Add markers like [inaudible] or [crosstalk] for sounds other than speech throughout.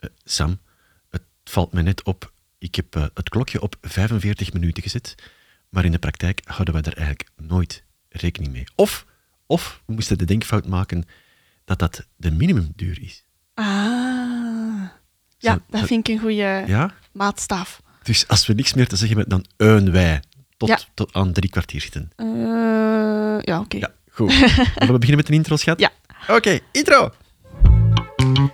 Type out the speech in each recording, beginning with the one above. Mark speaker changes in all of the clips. Speaker 1: Eh, Sam, het valt me net op. Ik heb eh, het klokje op 45 minuten gezet, maar in de praktijk houden we daar eigenlijk nooit rekening mee. Of, of we moesten de denkfout maken dat dat de minimumduur is.
Speaker 2: Ah. Ja,
Speaker 1: Zou-
Speaker 2: dat
Speaker 1: zou-
Speaker 2: vind ik een goede
Speaker 1: Ja?
Speaker 2: maatstaf.
Speaker 1: Dus als we niks meer te zeggen hebben, dan uien wij tot,
Speaker 2: Ja.
Speaker 1: tot aan drie kwartier zitten.
Speaker 2: Eh, ja, oké.
Speaker 1: Ja, goed. [laughs] Zullen we beginnen met een intro, schat?
Speaker 2: Ja.
Speaker 1: Oké, intro.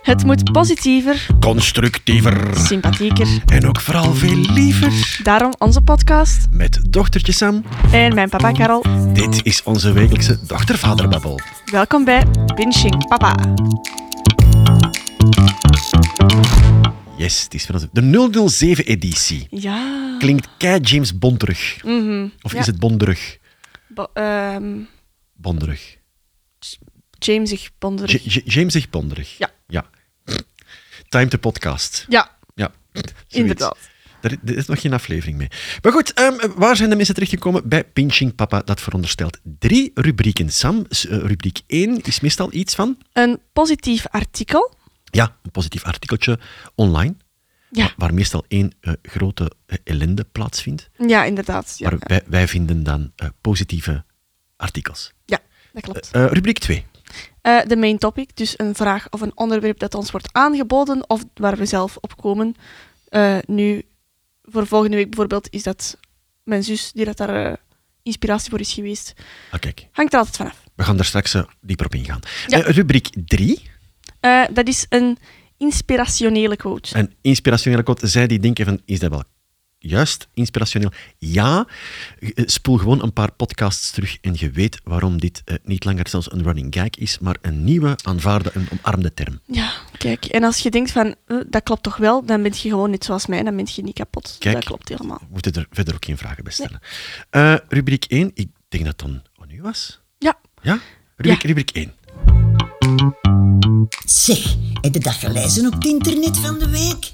Speaker 2: Het moet positiever,
Speaker 1: Constructiever.
Speaker 2: sympathieker.
Speaker 1: En ook vooral veel liever.
Speaker 2: Daarom onze podcast
Speaker 1: Met dochtertje Sam.
Speaker 2: en mijn papa Karel.
Speaker 1: Dit is onze wekelijkse dochtervaderbabbel.
Speaker 2: Welkom bij Pinching Papa.
Speaker 1: Yes, het is van onze... De 007-editie.
Speaker 2: Ja.
Speaker 1: Klinkt kei James Bond terug.
Speaker 2: Mhm.
Speaker 1: Of
Speaker 2: Ja.
Speaker 1: is het Bonderig?
Speaker 2: Bo- ehm,
Speaker 1: Bonderig.
Speaker 2: James zich
Speaker 1: J-
Speaker 2: bonderig.
Speaker 1: J- James zegt Bonderig.
Speaker 2: Ja.
Speaker 1: ja. Time to podcast.
Speaker 2: Ja,
Speaker 1: Ja. Zoiets.
Speaker 2: inderdaad.
Speaker 1: Er, er is nog geen aflevering mee. Maar goed, ehm, waar zijn de mensen terechtgekomen? Bij Pinching Papa. Dat veronderstelt drie rubrieken. Sam, s- eh, rubriek 1 is meestal iets van...
Speaker 2: Een positief artikel.
Speaker 1: Ja, een positief artikeltje online.
Speaker 2: Ja,
Speaker 1: Waar meestal één eh, grote eh, ellende plaatsvindt.
Speaker 2: ja inderdaad. Ja,
Speaker 1: Maar wij, wij vinden dan eh, positieve artikels.
Speaker 2: ja dat klopt.
Speaker 1: Eh, rubriek 2.
Speaker 2: Eh, de main topic, dus een vraag of een onderwerp dat ons wordt aangeboden of waar we zelf op komen. Eh, nu, voor volgende week bijvoorbeeld, is dat mijn zus die dat daar eh, inspiratie voor is geweest.
Speaker 1: Ah, kijk,
Speaker 2: Hangt er altijd vanaf.
Speaker 1: we gaan daar straks eh, dieper op ingaan.
Speaker 2: Ja.
Speaker 1: Eh, rubriek 3.
Speaker 2: Eh dat is een inspirationele quote.
Speaker 1: Een inspirationele quote. Zij die denken van, is dat wel juist inspirationeel? Ja, eh, spoel gewoon een paar podcasts terug en je weet waarom dit eh, niet langer zelfs een running gag is, maar een nieuwe, aanvaarde en omarmde term.
Speaker 2: Ja, kijk. En als je denkt van, eh, dat klopt toch wel, dan ben je gewoon net zoals mij, dan ben je niet kapot.
Speaker 1: Kijk.
Speaker 2: Dat klopt helemaal.
Speaker 1: We moeten er verder ook geen vragen bij stellen. Eh, rubriek 1, ik denk dat dan aan u was.
Speaker 2: Ja,
Speaker 1: Ja? Rubriek, rubriek 1.
Speaker 3: Zeg, heb je dat gelezen op het internet van de week?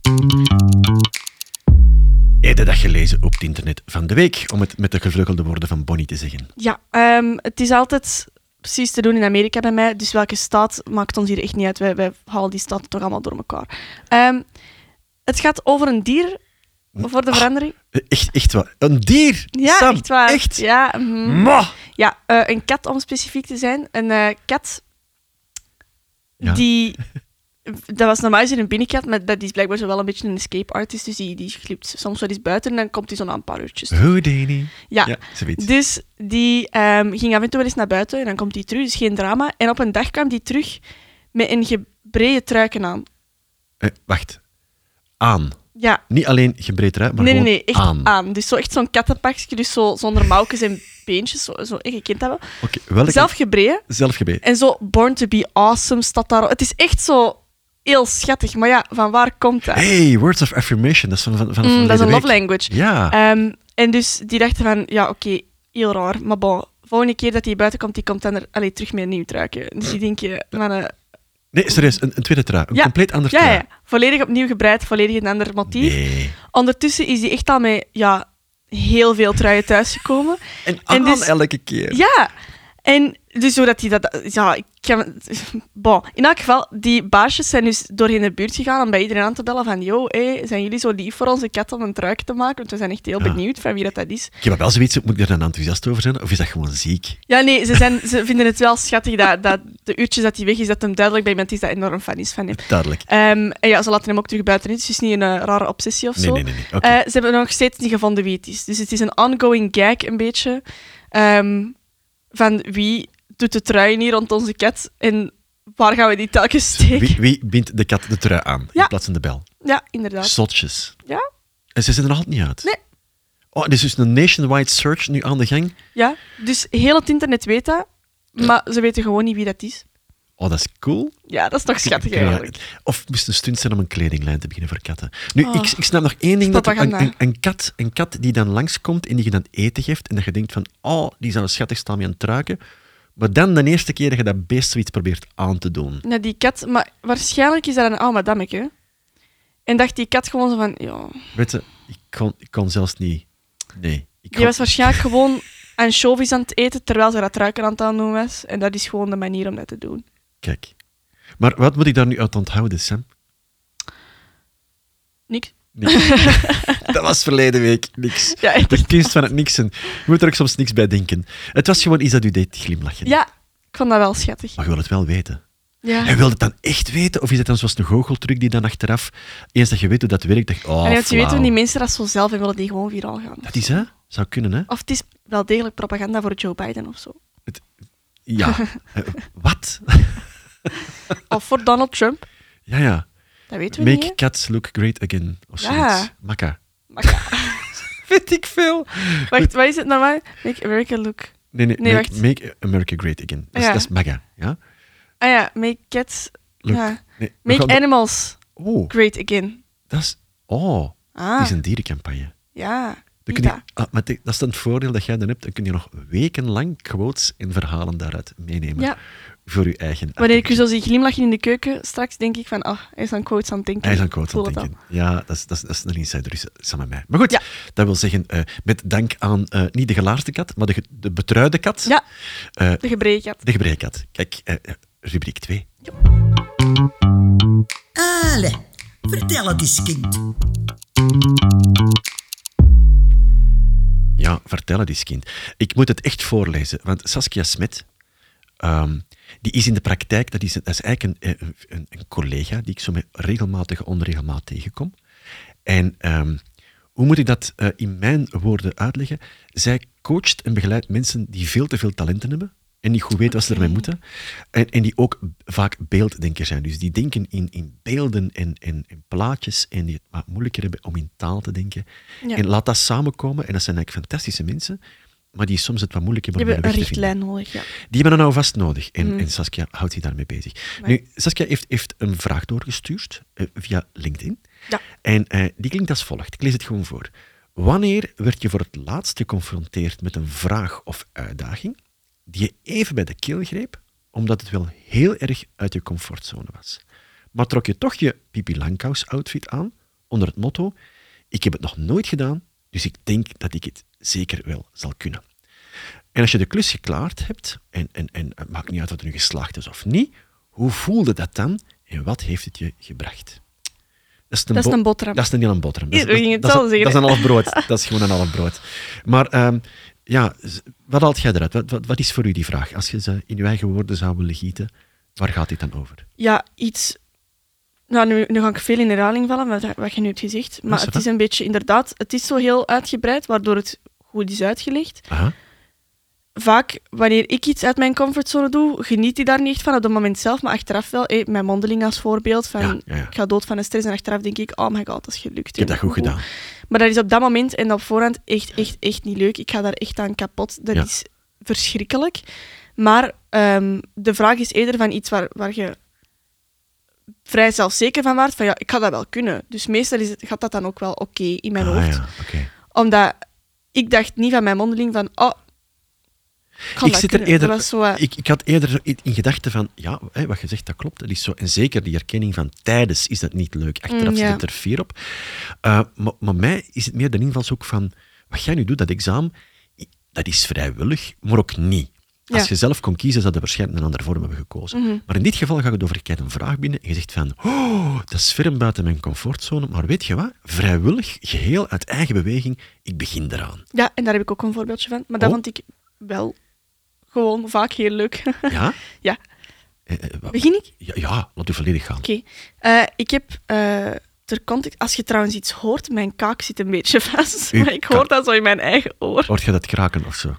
Speaker 1: Heb je dat gelezen op het internet van de week, om het met de gevleugelde woorden van Bonnie te zeggen?
Speaker 2: ja ehm, het is altijd precies te doen in Amerika bij mij. Dus welke staat maakt ons hier echt niet uit. Wij, wij halen die staten toch allemaal door elkaar. Ehm, het gaat over een dier, voor de verandering.
Speaker 1: Eh, Echt, echt waar. Een dier!
Speaker 2: Ja,
Speaker 1: Sam,
Speaker 2: echt waar.
Speaker 1: Echt? Hm?
Speaker 2: Ja, mhm.
Speaker 1: Ma!
Speaker 2: ja eh, een kat om specifiek te zijn. Een eh, kat
Speaker 1: Ja.
Speaker 2: die... Dat was normaal is er een binnenkat, maar dat is blijkbaar zo wel een beetje een escape artist. Dus die, die glipt soms wel eens buiten en dan komt hij zo na een paar uurtjes.
Speaker 1: Houdini.
Speaker 2: Ja,
Speaker 1: Ja, zoiets.
Speaker 2: Dus die ehm, ging af en toe wel eens naar buiten en dan komt die terug, dus geen drama. En op een dag kwam die terug met een gebreide truiken aan.
Speaker 1: Eh, wacht. Aan.
Speaker 2: Ja,
Speaker 1: Niet alleen gebreed eruit, maar
Speaker 2: nee, nee,
Speaker 1: gewoon
Speaker 2: nee, echt aan.
Speaker 1: aan.
Speaker 2: Dus zo echt zo'n kattenpakje, dus zo, zonder mouwtjes en beentjes, zo, zo, echt, je kent dat wel.
Speaker 1: Oké, welke?
Speaker 2: Zelf gebreien
Speaker 1: Zelf gebreid.
Speaker 2: en zo Born to be Awesome staat daar. Het is echt zo heel schattig, maar ja, van waar komt dat?
Speaker 1: Hey, words of affirmation. Dat is van, van, van
Speaker 2: Mm,
Speaker 1: van
Speaker 2: dat is
Speaker 1: deze
Speaker 2: een love
Speaker 1: week.
Speaker 2: language.
Speaker 1: Ja.
Speaker 2: Ehm, en dus die dachten van, ja, oké, heel raar, maar bon, volgende keer dat hij buiten komt, die komt dan er allee, terug met een nieuw truiken. Dus die denk je, mannen,
Speaker 1: nee, serieus. Een, een tweede trui. Een
Speaker 2: Ja.
Speaker 1: compleet ander
Speaker 2: Ja,
Speaker 1: trui.
Speaker 2: ja, volledig opnieuw gebreid, volledig een ander motief.
Speaker 1: Nee.
Speaker 2: Ondertussen is hij echt al met ja, heel veel
Speaker 1: [laughs]
Speaker 2: truien thuisgekomen.
Speaker 1: En aan
Speaker 2: dus-
Speaker 1: elke keer.
Speaker 2: Ja, en dus zodat hij dat. Ja, ik kan. [laughs] Bon, in elk geval, die baasjes zijn dus doorheen de buurt gegaan om bij iedereen aan te bellen: van, Yo, hé, zijn jullie zo lief voor onze kat om een truik te maken? Want we zijn echt heel
Speaker 1: Ja.
Speaker 2: benieuwd van wie dat, dat is.
Speaker 1: Ik heb wel zoiets, moet ik er dan enthousiast over zijn? Of is dat gewoon ziek?
Speaker 2: Ja, nee, ze, zijn, ze vinden het wel schattig dat, dat de uurtjes dat hij weg is, dat hem duidelijk bij iemand is dat enorm fan is van hem.
Speaker 1: Duidelijk.
Speaker 2: Ehm, en ja, ze laten hem ook terug buiten. Het is dus niet een eh, rare obsessie of
Speaker 1: Nee,
Speaker 2: zo.
Speaker 1: nee, nee. nee. Oké.
Speaker 2: Eh, ze hebben nog steeds niet gevonden wie het is. Dus het is een ongoing gag, een beetje. ehm, van wie doet de trui hier rond onze kat en waar gaan we die telkens steken?
Speaker 1: wie, wie bindt de kat de trui aan?
Speaker 2: Ja.
Speaker 1: In plaats van de bel.
Speaker 2: Ja, inderdaad.
Speaker 1: Zotjes.
Speaker 2: Ja?
Speaker 1: En ze zijn er nog altijd niet uit.
Speaker 2: Nee.
Speaker 1: Oh, er is dus een nationwide search nu aan de gang.
Speaker 2: Ja, dus heel het internet weet dat, maar ze weten gewoon niet wie dat is.
Speaker 1: Oh, dat is cool.
Speaker 2: Ja, dat is toch schattig
Speaker 1: Ja,
Speaker 2: eigenlijk.
Speaker 1: Of het moest een stunt zijn om een kledinglijn te beginnen voor katten. Nu,
Speaker 2: Oh.
Speaker 1: ik, ik snap nog één ding. Dat er een,
Speaker 2: Propaganda.
Speaker 1: een, een kat, een kat die dan langskomt en die je dan eten geeft en dat je denkt van, oh, die zou schattig staan met een truiken. Maar dan de eerste keer dat je dat beest zoiets probeert aan te doen.
Speaker 2: Ja, die kat, maar waarschijnlijk is dat een oud madammeke. En dacht die kat gewoon zo van, ja...
Speaker 1: Weet je, ik kon, ik kon zelfs niet... Nee. Ik
Speaker 2: Die
Speaker 1: kon-
Speaker 2: was waarschijnlijk gewoon anchovies aan het eten terwijl ze dat ruiken aan het aandoen was. En dat is gewoon de manier om dat te doen.
Speaker 1: Kijk. Maar wat moet ik daar nu uit onthouden, Sam?
Speaker 2: Niks. [laughs]
Speaker 1: Niks. dat was verleden week. Niks.
Speaker 2: Ja, echt.
Speaker 1: De kunst van het niksen. Je moet er ook soms niks bij denken. Het was gewoon iets dat u deed glimlachen.
Speaker 2: ja, ik vond dat wel schattig.
Speaker 1: Maar je wil het wel weten.
Speaker 2: Ja.
Speaker 1: En wil het dan echt weten? Of is het dan zoals een goocheltruc die dan achteraf, eens dat je weet hoe dat werkt, dacht oh,
Speaker 2: en je weet
Speaker 1: flauw.
Speaker 2: hoe die mensen dat zo zelf en willen die gewoon viraal gaan.
Speaker 1: Dat is, hè? Zou kunnen, hè?
Speaker 2: Of het is wel degelijk propaganda voor Joe Biden of zo. [laughs]
Speaker 1: Ja. Eh, Wat?
Speaker 2: Of voor Donald Trump.
Speaker 1: Ja, ja.
Speaker 2: Dat weten we
Speaker 1: Make
Speaker 2: niet. hè.
Speaker 1: cats look great again. Of
Speaker 2: Ja.
Speaker 1: zoiets. Makka.
Speaker 2: Maar ja, [laughs]
Speaker 1: Vind ik veel.
Speaker 2: Wacht, wat is het nou, normaal? Make America look.
Speaker 1: Nee, nee.
Speaker 2: Nee,
Speaker 1: make,
Speaker 2: wacht.
Speaker 1: make America great again. Dat is,
Speaker 2: Ja.
Speaker 1: dat is MAGA. Ja?
Speaker 2: Ah ja, make cats.
Speaker 1: Look.
Speaker 2: Ja.
Speaker 1: Nee, we
Speaker 2: Make
Speaker 1: gaan de-
Speaker 2: animals
Speaker 1: Oh,
Speaker 2: great again.
Speaker 1: dat is... Oh,
Speaker 2: Ah,
Speaker 1: het is een dierencampagne.
Speaker 2: ja.
Speaker 1: Dan
Speaker 2: Niet
Speaker 1: kun je,
Speaker 2: dat.
Speaker 1: ah, maar dit- dat is dan het voordeel dat jij dan hebt. Dan kun je nog wekenlang quotes en verhalen daaruit meenemen.
Speaker 2: Ja.
Speaker 1: Voor je eigen...
Speaker 2: Wanneer ik u
Speaker 1: artikel.
Speaker 2: zo zie glimlachen in de keuken, straks denk ik van, ah, hij is aan quotes aan het denken.
Speaker 1: Hij is aan quotes aan
Speaker 2: Voel
Speaker 1: het
Speaker 2: dat
Speaker 1: denken. Ja, dat is, dat, is, dat is een insider, is eh, samen met mij. Maar goed,
Speaker 2: Ja.
Speaker 1: dat wil zeggen, eh, met dank aan eh, niet de gelaarste kat, maar de, ge- de betruide kat,
Speaker 2: al. Ja,
Speaker 1: eh,
Speaker 2: de gebrekkig.
Speaker 1: de gebreikat. Kijk, eh, eh, rubriek 2.
Speaker 3: Allee, vertel het eens, kind.
Speaker 1: Ja, vertel het eens, kind. Ik moet het echt voorlezen, want Saskia Smet, ehm, die is in de praktijk, dat is, dat is eigenlijk een, eh, een, een collega die ik zo met regelmatig onregelmaat tegenkom. En ehm, hoe moet ik dat eh, in mijn woorden uitleggen? Zij coacht en begeleidt mensen die veel te veel talenten hebben en niet goed weten wat ze ermee moeten. En, en die ook vaak beelddenkers zijn. Dus die denken in, in beelden en, en, en plaatjes en die het wat moeilijker hebben om in taal te denken.
Speaker 2: Ja.
Speaker 1: En laat dat samenkomen. En dat zijn eigenlijk fantastische mensen, maar die soms het wat moeilijk
Speaker 2: Je
Speaker 1: hebben om
Speaker 2: hebt een
Speaker 1: hun weg te vinden.
Speaker 2: richtlijn nodig, ja.
Speaker 1: Die hebben dat nou vast nodig. En, en Saskia houdt zich daarmee bezig.
Speaker 2: Maar-
Speaker 1: Nu, Saskia heeft, heeft een vraag doorgestuurd eh, via LinkedIn.
Speaker 2: Ja.
Speaker 1: En eh, die klinkt als volgt. Ik lees het gewoon voor. Wanneer werd je voor het laatst geconfronteerd met een vraag of uitdaging die je even bij de keel greep, omdat het wel heel erg uit je comfortzone was? Maar trok je toch je Pipi Langkous-outfit aan onder het motto ik heb het nog nooit gedaan, dus ik denk dat ik het zeker wel zal kunnen. En als je de klus geklaard hebt, en, en, en het maakt niet uit of het nu geslaagd is of niet, hoe voelde dat dan en wat heeft het je gebracht?
Speaker 2: Dat is
Speaker 1: bo-
Speaker 2: een boterham.
Speaker 1: Dat is een hele boterham.
Speaker 2: [laughs]
Speaker 1: Dat is,
Speaker 2: Hier, we gingen
Speaker 1: dat, is,
Speaker 2: hetzelfde
Speaker 1: dat is
Speaker 2: zeggen.
Speaker 1: een half brood. Dat is gewoon een half brood. Maar ehm, ja, z- wat haalt jij eruit? Wat, wat, wat is voor u die vraag? Als je ze in uw eigen woorden zou willen gieten, waar gaat dit dan over?
Speaker 2: Ja, iets... Nou, nu, nu ga ik veel in herhaling vallen, wat, wat je nu hebt gezegd. Maar
Speaker 1: is
Speaker 2: het
Speaker 1: dat?
Speaker 2: is een beetje, inderdaad, het is zo heel uitgebreid, waardoor het goed is uitgelegd.
Speaker 1: Aha.
Speaker 2: vaak wanneer ik iets uit mijn comfortzone doe, geniet ik daar niet echt van op het moment zelf, maar achteraf wel. Hé, mijn mondeling als voorbeeld. Van,
Speaker 1: Ja, ja, ja.
Speaker 2: Ik ga dood van de stress en achteraf denk ik, oh my god, dat is gelukt.
Speaker 1: Ik heb dat goed gedaan.
Speaker 2: Maar dat is op dat moment en op voorhand echt, echt, echt niet leuk. Ik ga daar echt aan kapot. Dat
Speaker 1: Ja.
Speaker 2: is verschrikkelijk. Maar ehm, de vraag is eerder van iets waar, waar je vrij zelfzeker van waart, van ja, ik ga dat wel kunnen. Dus meestal is het, gaat dat dan ook wel oké in mijn
Speaker 1: Ah,
Speaker 2: hoofd.
Speaker 1: ja, oké.
Speaker 2: Omdat ik dacht niet van mijn mondeling van, oh, ik kan
Speaker 1: Ik
Speaker 2: dat
Speaker 1: zit er
Speaker 2: kunnen.
Speaker 1: eerder-
Speaker 2: Dat was zo, eh,
Speaker 1: Ik, ik had eerder zo in, in gedachten van, ja, hè, wat je zegt, dat klopt. Dat is zo. En zeker die erkenning van tijdens is dat niet leuk. Achteraf
Speaker 2: Mm, ja.
Speaker 1: zit het er vier op. Eh, maar, maar mij is het meer de invalshoek van, wat jij nu doet, dat examen, i- dat is vrijwillig, maar ook niet. Als
Speaker 2: Ja. Mhm.
Speaker 1: je zelf kon kiezen, zou je waarschijnlijk een andere vorm hebben gekozen. Maar in dit geval gaat het over, je krijgt een vraag binnen en je zegt van, oh, dat is ver buiten mijn comfortzone, maar weet je wat? Vrijwillig, geheel uit eigen beweging, ik begin eraan.
Speaker 2: ja, en daar heb ik ook een voorbeeldje van. Maar dat
Speaker 1: Oh.
Speaker 2: vond ik wel gewoon vaak heel leuk.
Speaker 1: Ja?
Speaker 2: [laughs] ja,
Speaker 1: Eh, eh, wat-
Speaker 2: begin ik?
Speaker 1: ja, ja, laat u volledig gaan.
Speaker 2: Oké. Eh, ik heb eh, ter context... Als je trouwens iets hoort, mijn kaak zit een beetje [laughs] vast.
Speaker 1: Uw
Speaker 2: Maar ik hoor
Speaker 1: kaak.
Speaker 2: dat zo in mijn eigen oor.
Speaker 1: Hoort je dat kraken of zo?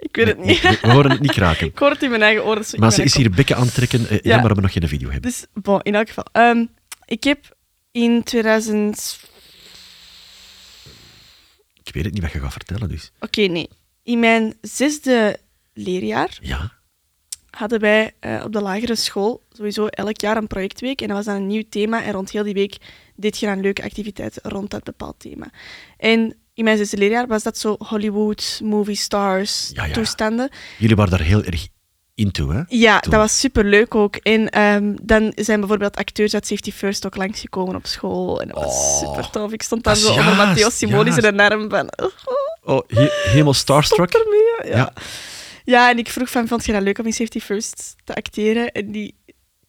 Speaker 2: Ik weet het niet.
Speaker 1: We, we horen het niet kraken.
Speaker 2: [laughs] ik hoor het in mijn eigen oor. dus ik
Speaker 1: Maar
Speaker 2: ben
Speaker 1: ze
Speaker 2: een
Speaker 1: is hier bekken aantrekken, eh, ja.
Speaker 2: Ja.
Speaker 1: maar dat we nog geen video hebben.
Speaker 2: Dus, bon, in elk geval. Ehm, ik heb in 2000... Dus-
Speaker 1: Ik weet het niet wat je gaat vertellen, dus.
Speaker 2: Oké, nee. In mijn zesde leerjaar
Speaker 1: Ja.
Speaker 2: hadden wij eh, op de lagere school sowieso elk jaar een projectweek. En dat was dan een nieuw thema. En rond heel die week deed je dan leuke activiteiten rond dat bepaald thema. En in mijn zesde leerjaar was dat zo Hollywood, movie stars,
Speaker 1: Ja, ja.
Speaker 2: toestanden.
Speaker 1: Jullie waren daar heel erg into, hè?
Speaker 2: Ja,
Speaker 1: Toen.
Speaker 2: dat was superleuk ook. En ehm, dan zijn bijvoorbeeld acteurs uit Safety First ook langsgekomen op school. En dat was
Speaker 1: Oh.
Speaker 2: super tof. Ik stond daar
Speaker 1: Dat
Speaker 2: zo
Speaker 1: is
Speaker 2: onder
Speaker 1: juist,
Speaker 2: Matteo Simonis
Speaker 1: juist.
Speaker 2: en een arm van... Oh,
Speaker 1: Oh, he- helemaal starstruck.
Speaker 2: ermee, ja.
Speaker 1: Ja.
Speaker 2: ja. en ik vroeg van, vond je dat leuk om in Safety First te acteren? En die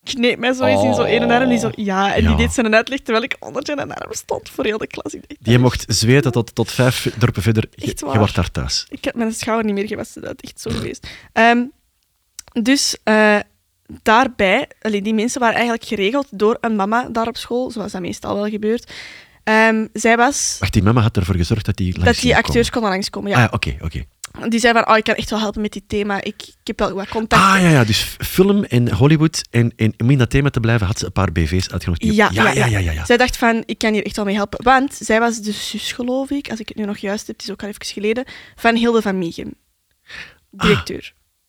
Speaker 2: kneep mij zo eens in zo'n ene arm. Die zo, ja, en
Speaker 1: Ja.
Speaker 2: die deed zijn uitleg terwijl ik onder zijn arm stond voor heel de klas. Ik, dacht,
Speaker 1: Die mocht zweten tot, tot vijf dorpen verder. Je,
Speaker 2: Echt
Speaker 1: je
Speaker 2: waar.
Speaker 1: wordt daar thuis.
Speaker 2: ik heb mijn schouder niet meer gewassen, dat is echt zo geweest. Ehm, dus eh, daarbij, allee, die mensen waren eigenlijk geregeld door een mama daar op school, zoals dat meestal wel gebeurt. Ehm, zij was...
Speaker 1: Wacht, die mama had ervoor gezorgd dat die langs
Speaker 2: Dat die
Speaker 1: ging
Speaker 2: acteurs
Speaker 1: komen.
Speaker 2: konden langskomen, ja.
Speaker 1: Ah, oké, oké.
Speaker 2: Die zei van, oh, ik kan echt wel helpen met dit thema. Ik, ik heb wel wat contact.
Speaker 1: Ah, ja, ja. Dus f- film en Hollywood. En, en om in dat thema te blijven, had ze een paar BV's uitgenodigd. Die-
Speaker 2: Ja, ja,
Speaker 1: ja, ja. ja, ja.
Speaker 2: Zij dacht van, ik kan hier echt wel mee helpen. Want zij was de zus, geloof ik, als ik het nu nog juist heb, het is ook al even geleden, van Hilde van Mieghem. Directeur.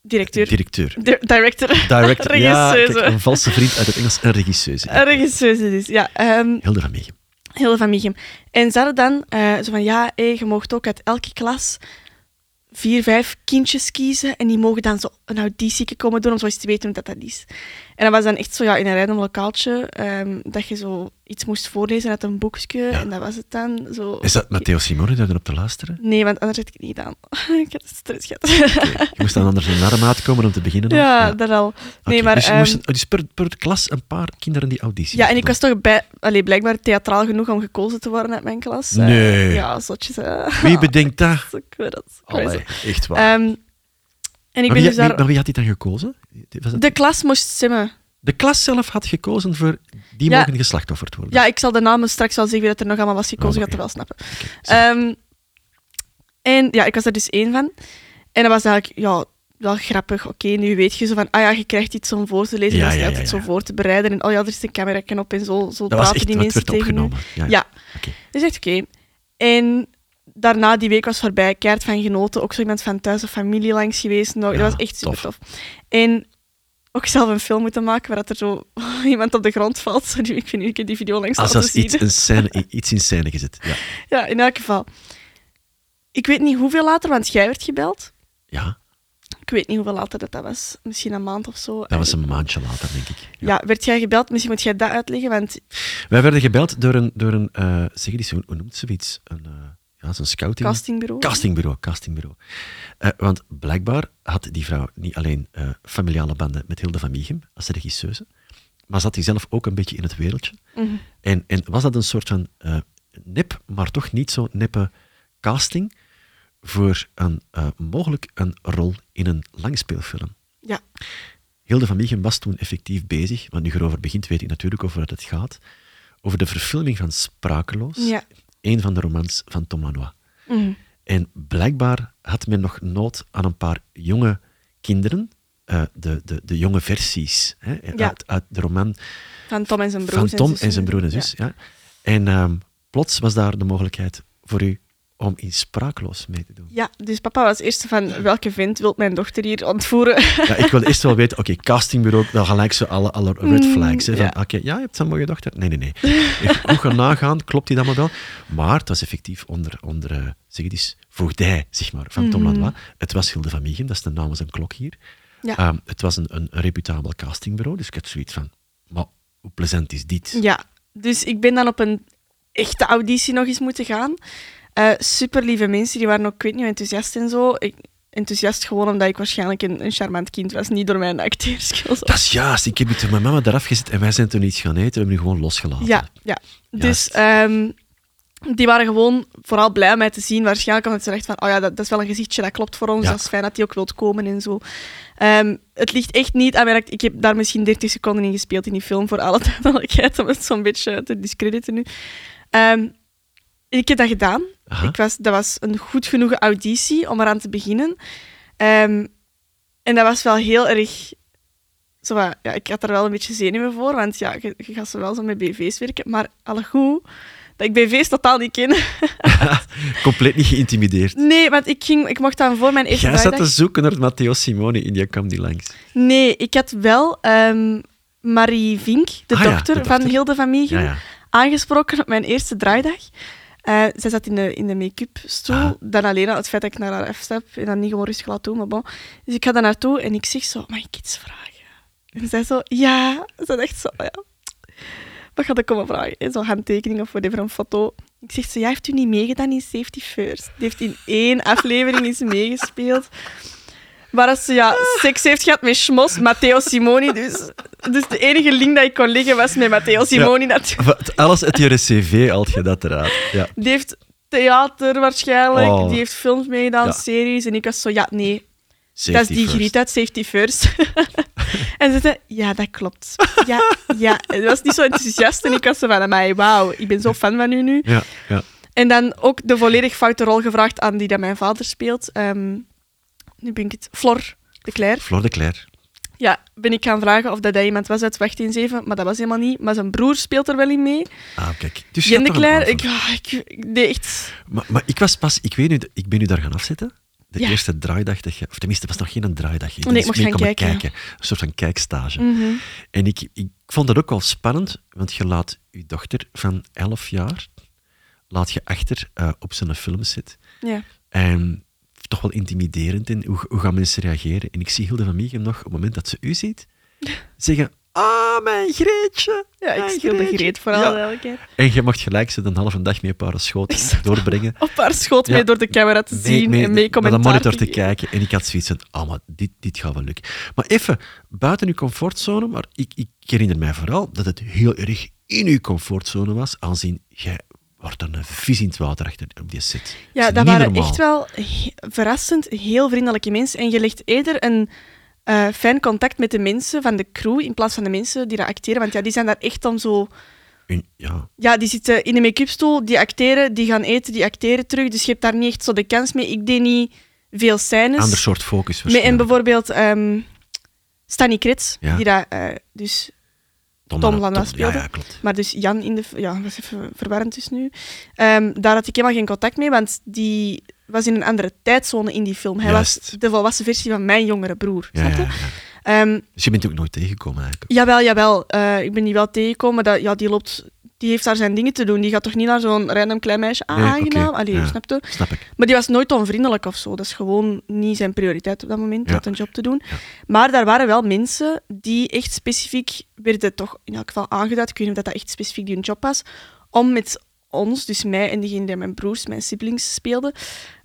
Speaker 2: Directeur.
Speaker 1: Directeur.
Speaker 2: Dir- director. [laughs]
Speaker 1: Director. ja,
Speaker 2: Regisseuse.
Speaker 1: kijk, een valse vriend uit het Engels. Een regisseuse.
Speaker 2: Een regisseuse dus, ja. ehm,
Speaker 1: Hilde van Meegem.
Speaker 2: Hilde van Mieghem. En ze hadden dan eh, zo van, ja, hey, je mocht ook uit elke klas vier, vijf kindjes kiezen en die mogen dan zo een auditieke komen doen om zoiets te weten hoe dat dat is. En dat was dan echt zo, ja, in een random lokaaltje, ehm, dat je zo iets moest voorlezen uit een boekje en dat was het dan. Zo.
Speaker 1: Is dat Matteo Simone daar dan op te luisteren?
Speaker 2: Nee, want anders had ik het niet gedaan. [laughs] ik had stress gehad.
Speaker 1: Je moest dan anders naar de maat komen om te beginnen. al?
Speaker 2: ja,
Speaker 1: Oké,
Speaker 2: dat al. Nee, maar,
Speaker 1: dus je
Speaker 2: ehm,
Speaker 1: moest een- dus per, per klas een paar kinderen die auditie
Speaker 2: Ja, en ik
Speaker 1: mochten
Speaker 2: was toch bij, allee, blijkbaar theatraal genoeg om gekozen te worden uit mijn klas. Eh,
Speaker 1: Nee.
Speaker 2: ja, zotjes. eh. [laughs]
Speaker 1: doen. Wie bedenkt dat?
Speaker 2: Ik weet het. Ik weet het.
Speaker 1: Allee, echt waar.
Speaker 2: Ehm, en ik
Speaker 1: maar, wie,
Speaker 2: ben dus
Speaker 1: wie-
Speaker 2: daar...
Speaker 1: maar wie had die dan gekozen? Was het- de,
Speaker 2: De klas moest stemmen.
Speaker 1: klas zelf had gekozen voor die
Speaker 2: Ja.
Speaker 1: mogen geslachtofferd worden.
Speaker 2: Ja, ik zal de namen straks wel zeggen wie dat er nog allemaal was gekozen.
Speaker 1: Oh,
Speaker 2: Je gaat er
Speaker 1: oké.
Speaker 2: wel snappen.
Speaker 1: zo.
Speaker 2: Ehm, en ja, ik was daar dus één van. En dat was eigenlijk ja, wel grappig. Oké, nu weet je zo van... Ah ja, je krijgt iets om voor te lezen.
Speaker 1: Ja,
Speaker 2: dat is
Speaker 1: ja,
Speaker 2: niet
Speaker 1: ja,
Speaker 2: altijd
Speaker 1: ja.
Speaker 2: zo voor te bereiden. En oh ja, er is een cameraknop op en zo, zo
Speaker 1: dat was
Speaker 2: praten
Speaker 1: echt
Speaker 2: die
Speaker 1: wat
Speaker 2: mensen
Speaker 1: werd
Speaker 2: tegen u.
Speaker 1: opgenomen. Ja, ja.
Speaker 2: Ja.
Speaker 1: Oké.
Speaker 2: Dus echt oké. En daarna, die week was voorbij, keihard van genoten. Ook zo iemand van thuis of familie langs geweest. nog.
Speaker 1: Ja,
Speaker 2: dat was echt
Speaker 1: tof.
Speaker 2: super tof. En ook zelf een film moeten maken waar dat er zo [laughs] iemand op de grond valt. [laughs] Sorry, ik vind niet, ik heb die video langs
Speaker 1: Als
Speaker 2: laten
Speaker 1: als Ah, iets,
Speaker 2: zien.
Speaker 1: een scène, i- iets in scène gezet. Ja.
Speaker 2: Ja, in elk geval. Ik weet niet hoeveel later, want jij werd gebeld.
Speaker 1: ja,
Speaker 2: Ik weet niet hoeveel later dat, dat was. Misschien een maand of zo.
Speaker 1: dat was een maandje later, denk ik.
Speaker 2: Ja. werd jij gebeld? Misschien moet jij dat uitleggen, want
Speaker 1: Wij werden gebeld door een, door een eh, zeg eens, hoe hoe noemt ze iets? Een, eh, ja, zo'n scouting...
Speaker 2: castingbureau.
Speaker 1: Castingbureau, castingbureau. Eh, want blijkbaar had die vrouw niet alleen eh, familiale banden met Hilde van Mieghem als regisseuse, maar zat hij zelf ook een beetje in het wereldje.
Speaker 2: Mhm.
Speaker 1: En, en was dat een soort van eh, nep, maar toch niet zo neppe casting voor een, eh, mogelijk een rol in een langspeelfilm?
Speaker 2: Ja.
Speaker 1: Hilde van Mieghem was toen effectief bezig, want nu je erover begint weet ik natuurlijk over wat het gaat, over de verfilming van Sprakeloos,
Speaker 2: Ja.
Speaker 1: een van de romans van Tom Lanois.
Speaker 2: Mhm.
Speaker 1: En blijkbaar had men nog nood aan een paar jonge kinderen, eh, de, de, de jonge versies hè,
Speaker 2: Ja.
Speaker 1: uit, uit de roman
Speaker 2: Van Tom en zijn broer.
Speaker 1: van Tom en zijn broer en zus. Ja. En ehm, plots was daar de mogelijkheid voor u om in Spraakloos mee te doen.
Speaker 2: Ja, dus papa was eerst van welke vent wil mijn dochter hier ontvoeren? [laughs]
Speaker 1: Ja, ik wilde eerst wel weten, oké, castingbureau, dan gelijk zo alle, alle red
Speaker 2: Mm,
Speaker 1: flags. Hè, van,
Speaker 2: ja.
Speaker 1: Oké, ja, je hebt zo'n mooie dochter. Nee, nee, nee. Even goed gaan nagaan, klopt die dat model? Maar het was effectief onder, onder eh, zeg het eens, voogdij, zeg maar, van
Speaker 2: Hmm.
Speaker 1: Tom Lanois. Het was Hilde van Mieghem, dat is de naam als een klok hier.
Speaker 2: Ja.
Speaker 1: Ehm, het was een, een reputabel castingbureau, dus ik had zoiets van, maar hoe plezant is dit?
Speaker 2: ja, dus ik ben dan op een echte auditie nog eens moeten gaan. super lieve mensen, die waren ook, ik weet niet, enthousiast en zo. Ik, enthousiast gewoon omdat ik waarschijnlijk een, een charmant kind was, niet door mijn acteerskills.
Speaker 1: Dat is juist, ik heb het met mijn mama eraf gezet en wij zijn toen iets gaan eten, we hebben nu gewoon losgelaten.
Speaker 2: Ja, ja.
Speaker 1: Juist.
Speaker 2: Dus ehm, die waren gewoon vooral blij om mij te zien. Waarschijnlijk omdat ze dachten van, oh ja, dat, dat is wel een gezichtje, dat klopt voor ons.
Speaker 1: Ja.
Speaker 2: Dat is fijn dat hij ook wilt komen en zo. Ehm, het ligt echt niet aan mijn act- Ik heb daar misschien 30 seconden in gespeeld in die film, voor alle [laughs] duidelijkheid, om het zo'n beetje te discrediten nu. Ehm, ik heb dat gedaan.
Speaker 1: Aha.
Speaker 2: Ik was, dat was een goed genoegen auditie om eraan te beginnen. Ehm, en dat was wel heel erg... Zo, wat- ja, ik had er wel een beetje zenuwen voor, want ja, je, je gaat zo wel zo met BV's werken, maar alle goed dat ik BV's totaal niet ken.
Speaker 1: [laughs]
Speaker 2: [laughs]
Speaker 1: Compleet niet geïntimideerd.
Speaker 2: Nee, want ik, ging, ik mocht dan voor mijn eerste
Speaker 1: Jij zat dus-
Speaker 2: vrijdag...
Speaker 1: te zoeken naar Matteo Simone en die kwam niet langs.
Speaker 2: Nee, ik had wel ehm, Marie Vink, de,
Speaker 1: Ah ja, de
Speaker 2: dochter van
Speaker 1: dochter.
Speaker 2: Hilde van Miegen,
Speaker 1: Ja, ja.
Speaker 2: aangesproken op mijn eerste draaidag. Eh, zij zat in de, in de make-up stoel.
Speaker 1: Ah.
Speaker 2: Dan alleen al het feit dat ik naar haar afstap en dan niet gewoon rustig laat doen, maar bon. Dus ik ga daar naartoe en ik zeg zo, mag ik iets vragen? En zij zo, ja. Ze echt zo, ja. Wat gaat ik komen vragen? En Zo'n handtekening of whatever, een foto. Ik zeg zo, ja, heeft u niet meegedaan in Safety First? Die heeft in één aflevering eens meegespeeld. Maar als ze ja, seks heeft gehad met Schmos, Matteo Simoni, dus, dus de enige link dat ik kon liggen was met Matteo Simoni. Dat,
Speaker 1: Wat, Alles uit je cv haalt je dat eruit. Ja.
Speaker 2: die heeft theater waarschijnlijk,
Speaker 1: Oh.
Speaker 2: die heeft films meegedaan,
Speaker 1: Ja.
Speaker 2: series. En ik was zo, ja, nee, dat
Speaker 1: Safety
Speaker 2: is die
Speaker 1: first.
Speaker 2: griet uit Safety First. [laughs] en ze zei, ja, dat klopt. Ja, ja. En dat was niet zo enthousiast en ik was zo van, mij, wauw, ik ben zo fan van u nu.
Speaker 1: Ja, ja.
Speaker 2: En dan ook de volledig foute rol gevraagd aan die dat mijn vader speelt. Ehm, nu ben ik het, Flor de Cler.
Speaker 1: Flor de Cler.
Speaker 2: Ja, ben ik gaan vragen of dat, dat iemand was uit Wacht in Zeven, maar dat was helemaal niet. Maar zijn broer speelt er wel in mee.
Speaker 1: Ah, kijk. Dus je
Speaker 2: Jen
Speaker 1: had
Speaker 2: de
Speaker 1: toch een
Speaker 2: Cler, ik,
Speaker 1: antwoord.
Speaker 2: ah, ik, ik deed echt...
Speaker 1: Maar, maar ik was pas, ik weet nu, ik ben nu daar gaan afzitten. De
Speaker 2: Ja.
Speaker 1: eerste draaidag dat je, of tenminste, het was nog geen draaidag.
Speaker 2: Nee, ik mocht gaan kijken,
Speaker 1: Een soort van kijkstage.
Speaker 2: Mhm.
Speaker 1: En ik, ik vond dat ook wel spannend, want je laat je dochter van 11 jaar laat je achter eh, op zijn film zitten.
Speaker 2: Ja.
Speaker 1: En Ehm, toch wel intimiderend in hoe, hoe gaan mensen reageren. En ik zie Hilde van Miegem nog, op het moment dat ze u
Speaker 2: [laughs]
Speaker 1: ziet, zeggen: Ah, mijn Greetje!
Speaker 2: ja, ik
Speaker 1: mijn
Speaker 2: speelde Greet vooral
Speaker 1: Ja.
Speaker 2: elke
Speaker 1: En je mocht gelijk ze een halve dag mee op haar schoot doorbrengen.
Speaker 2: Op haar schoot
Speaker 1: Ja.
Speaker 2: mee door de camera te zien en mee
Speaker 1: naar de
Speaker 2: commentaar
Speaker 1: monitor te
Speaker 2: geven.
Speaker 1: kijken. En ik had zoiets van, ah, maar dit, dit gaat wel lukken. Maar even, buiten uw comfortzone, maar ik, ik herinner mij vooral dat het heel erg in uw comfortzone was, aanzien jij wordt dan een vis in het water achter op die set. Dat
Speaker 2: Ja,
Speaker 1: is
Speaker 2: dat
Speaker 1: niet
Speaker 2: waren
Speaker 1: normaal.
Speaker 2: echt wel he- verrassend heel vriendelijke mensen. En je legt eerder een eh, fijn contact met de mensen van de crew in plaats van de mensen die daar acteren. Want ja, die zijn daar echt om zo...
Speaker 1: En- ja,
Speaker 2: Ja, die zitten in de make-up stoel, die acteren, die gaan eten, die acteren terug. Dus je hebt daar niet echt zo de kans mee. Ik deed niet veel scènes.
Speaker 1: ander soort focus
Speaker 2: Met- en
Speaker 1: waarschijnlijk.
Speaker 2: bijvoorbeeld ehm Stanny Krits,
Speaker 1: Ja.
Speaker 2: die daar... eh, dus, Tom
Speaker 1: Tom-
Speaker 2: Lanois
Speaker 1: Ja,
Speaker 2: speelde.
Speaker 1: ja, klopt.
Speaker 2: maar dus Jan in de... Ja, dat is even verwarrend dus nu. Ehm, daar had ik helemaal geen contact mee, want die was in een andere tijdzone in die film. Hij was
Speaker 1: Juist.
Speaker 2: de volwassen versie van mijn jongere broer.
Speaker 1: Ja,
Speaker 2: snap je?
Speaker 1: ja, ja.
Speaker 2: Ehm,
Speaker 1: Dus je bent ook nooit tegengekomen eigenlijk.
Speaker 2: Jawel, jawel. Eh, ik ben die wel tegengekomen. maar Dat, ja, die, loopt, die heeft daar zijn dingen te doen. Die gaat toch niet naar zo'n random klein meisje. Ah,
Speaker 1: Nee, oké,
Speaker 2: aangenaam. Allee,
Speaker 1: ja.
Speaker 2: snap je?
Speaker 1: Snap ik.
Speaker 2: Maar die was nooit onvriendelijk of zo. Dat is gewoon niet zijn prioriteit op dat moment,
Speaker 1: Ja.
Speaker 2: dat een job te doen.
Speaker 1: Ja.
Speaker 2: Maar daar waren wel mensen die echt specifiek werden toch in elk geval aangeduid. Ik weet niet of dat echt specifiek die hun job was. Om met ons, dus mij en degene die mijn broers, mijn siblings speelden,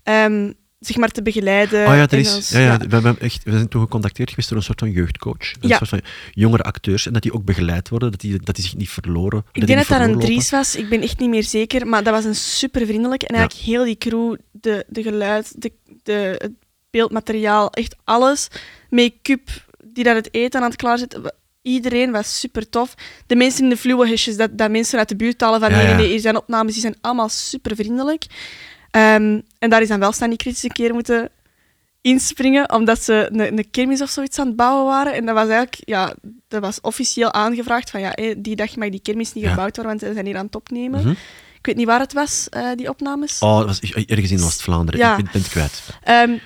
Speaker 2: ehm, zeg maar te begeleiden.
Speaker 1: Oh ja, er
Speaker 2: en
Speaker 1: is.
Speaker 2: als-
Speaker 1: Ja, ja, we, hebben echt, we zijn toen gecontacteerd geweest door een soort van jeugdcoach. Een
Speaker 2: Ja.
Speaker 1: soort van jongere acteurs. En dat die ook begeleid worden, dat die, dat die zich niet verloren.
Speaker 2: Ik denk dat
Speaker 1: niet
Speaker 2: daar een
Speaker 1: verloren lopen.
Speaker 2: Dries was, ik ben echt niet meer zeker. Maar dat was een super vriendelijk. En
Speaker 1: Ja.
Speaker 2: eigenlijk heel die crew, de, de geluid, de, de, het beeldmateriaal, echt alles. Make-up, die daar het eten aan het klaarzetten. wa- Iedereen was super tof. De mensen in de fluwehesjes, dat, dat mensen uit de buurt halen van
Speaker 1: Ja,
Speaker 2: nee, nee,
Speaker 1: ja.
Speaker 2: nee, hier zijn opnames, die zijn allemaal super vriendelijk. Ehm, en daar is dan wel staan die kritisch een keer moeten inspringen, omdat ze een, een kermis of zoiets aan het bouwen waren. En dat was eigenlijk, ja, dat was officieel aangevraagd van ja, hé, die dag mag die kermis niet
Speaker 1: Ja.
Speaker 2: gebouwd worden, want ze zijn hier aan het opnemen.
Speaker 1: Mhm.
Speaker 2: Ik weet niet waar het was, eh, die opnames.
Speaker 1: Oh, dat was ergens in Oost-Vlaanderen.
Speaker 2: Ja.
Speaker 1: Ik ben, ben het kwijt.
Speaker 2: Ehm,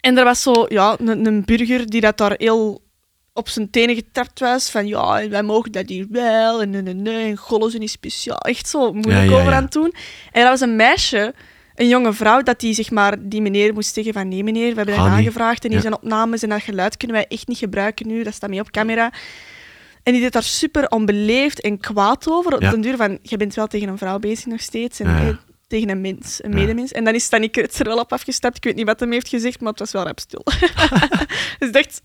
Speaker 2: en er was zo, ja, een, een burger die dat daar heel op zijn tenen getrapt was, van ja, wij mogen dat hier wel, en nee, nee, nee, en gollen zijn niet speciaal. Echt zo moeilijk
Speaker 1: Ja, ja,
Speaker 2: over
Speaker 1: ja.
Speaker 2: aan het doen. En dat was een meisje, een jonge vrouw, dat die zeg maar die meneer moest zeggen van nee meneer, we hebben dat
Speaker 1: Ga niet.
Speaker 2: aangevraagd en hier
Speaker 1: Ja.
Speaker 2: zijn opnames en dat geluid kunnen wij echt niet gebruiken nu, dat staat mee op camera. En die deed daar super onbeleefd en kwaad over. Op
Speaker 1: Ja.
Speaker 2: den duur van, je bent wel tegen een vrouw bezig nog steeds. En
Speaker 1: Ja, ja.
Speaker 2: eh, tegen een mens, een
Speaker 1: Ja.
Speaker 2: medemens. En dan is Stanny Kruts er wel op afgestapt. Ik weet niet wat hem heeft gezegd, maar het was wel rap stil. [laughs] dus ik dacht,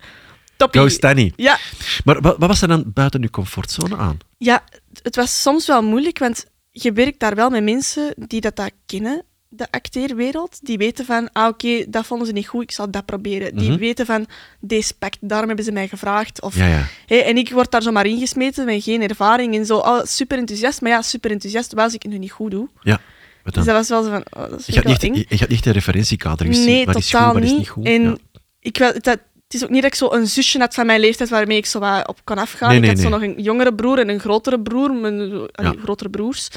Speaker 2: toppie.
Speaker 1: Go Stanny.
Speaker 2: Ja,
Speaker 1: Maar wat, wat was er dan buiten je comfortzone aan?
Speaker 2: ja, het was soms wel moeilijk, want je werkt daar wel met mensen die dat, dat kennen, de acteerwereld. Die weten van, ah oké, dat vonden ze niet goed, ik zal dat proberen. Die
Speaker 1: Mhm.
Speaker 2: weten van, deze pakt, daarom hebben ze mij gevraagd. Of
Speaker 1: Ja, ja.
Speaker 2: Hé, en ik word daar zomaar ingesmeten met geen ervaring en zo. Oh, super enthousiast, maar ja, super enthousiast was ik het nu niet goed doe.
Speaker 1: ja. Wat dan?
Speaker 2: Dus dat was wel zo van, oh, dat is
Speaker 1: je, gaat
Speaker 2: wel
Speaker 1: niet,
Speaker 2: eng.
Speaker 1: je, je gaat niet de referentiekader gezien.
Speaker 2: nee,
Speaker 1: wat is goed,
Speaker 2: totaal
Speaker 1: wat is
Speaker 2: niet.
Speaker 1: niet goed.
Speaker 2: En
Speaker 1: Ja.
Speaker 2: ik wel, dat, het is ook niet dat ik zo een zusje had van mijn leeftijd waarmee ik zo wat op kon afgaan.
Speaker 1: Nee,
Speaker 2: ik
Speaker 1: nee,
Speaker 2: had zo
Speaker 1: nee.
Speaker 2: nog een jongere broer en een grotere broer, mijn allee, grotere broers.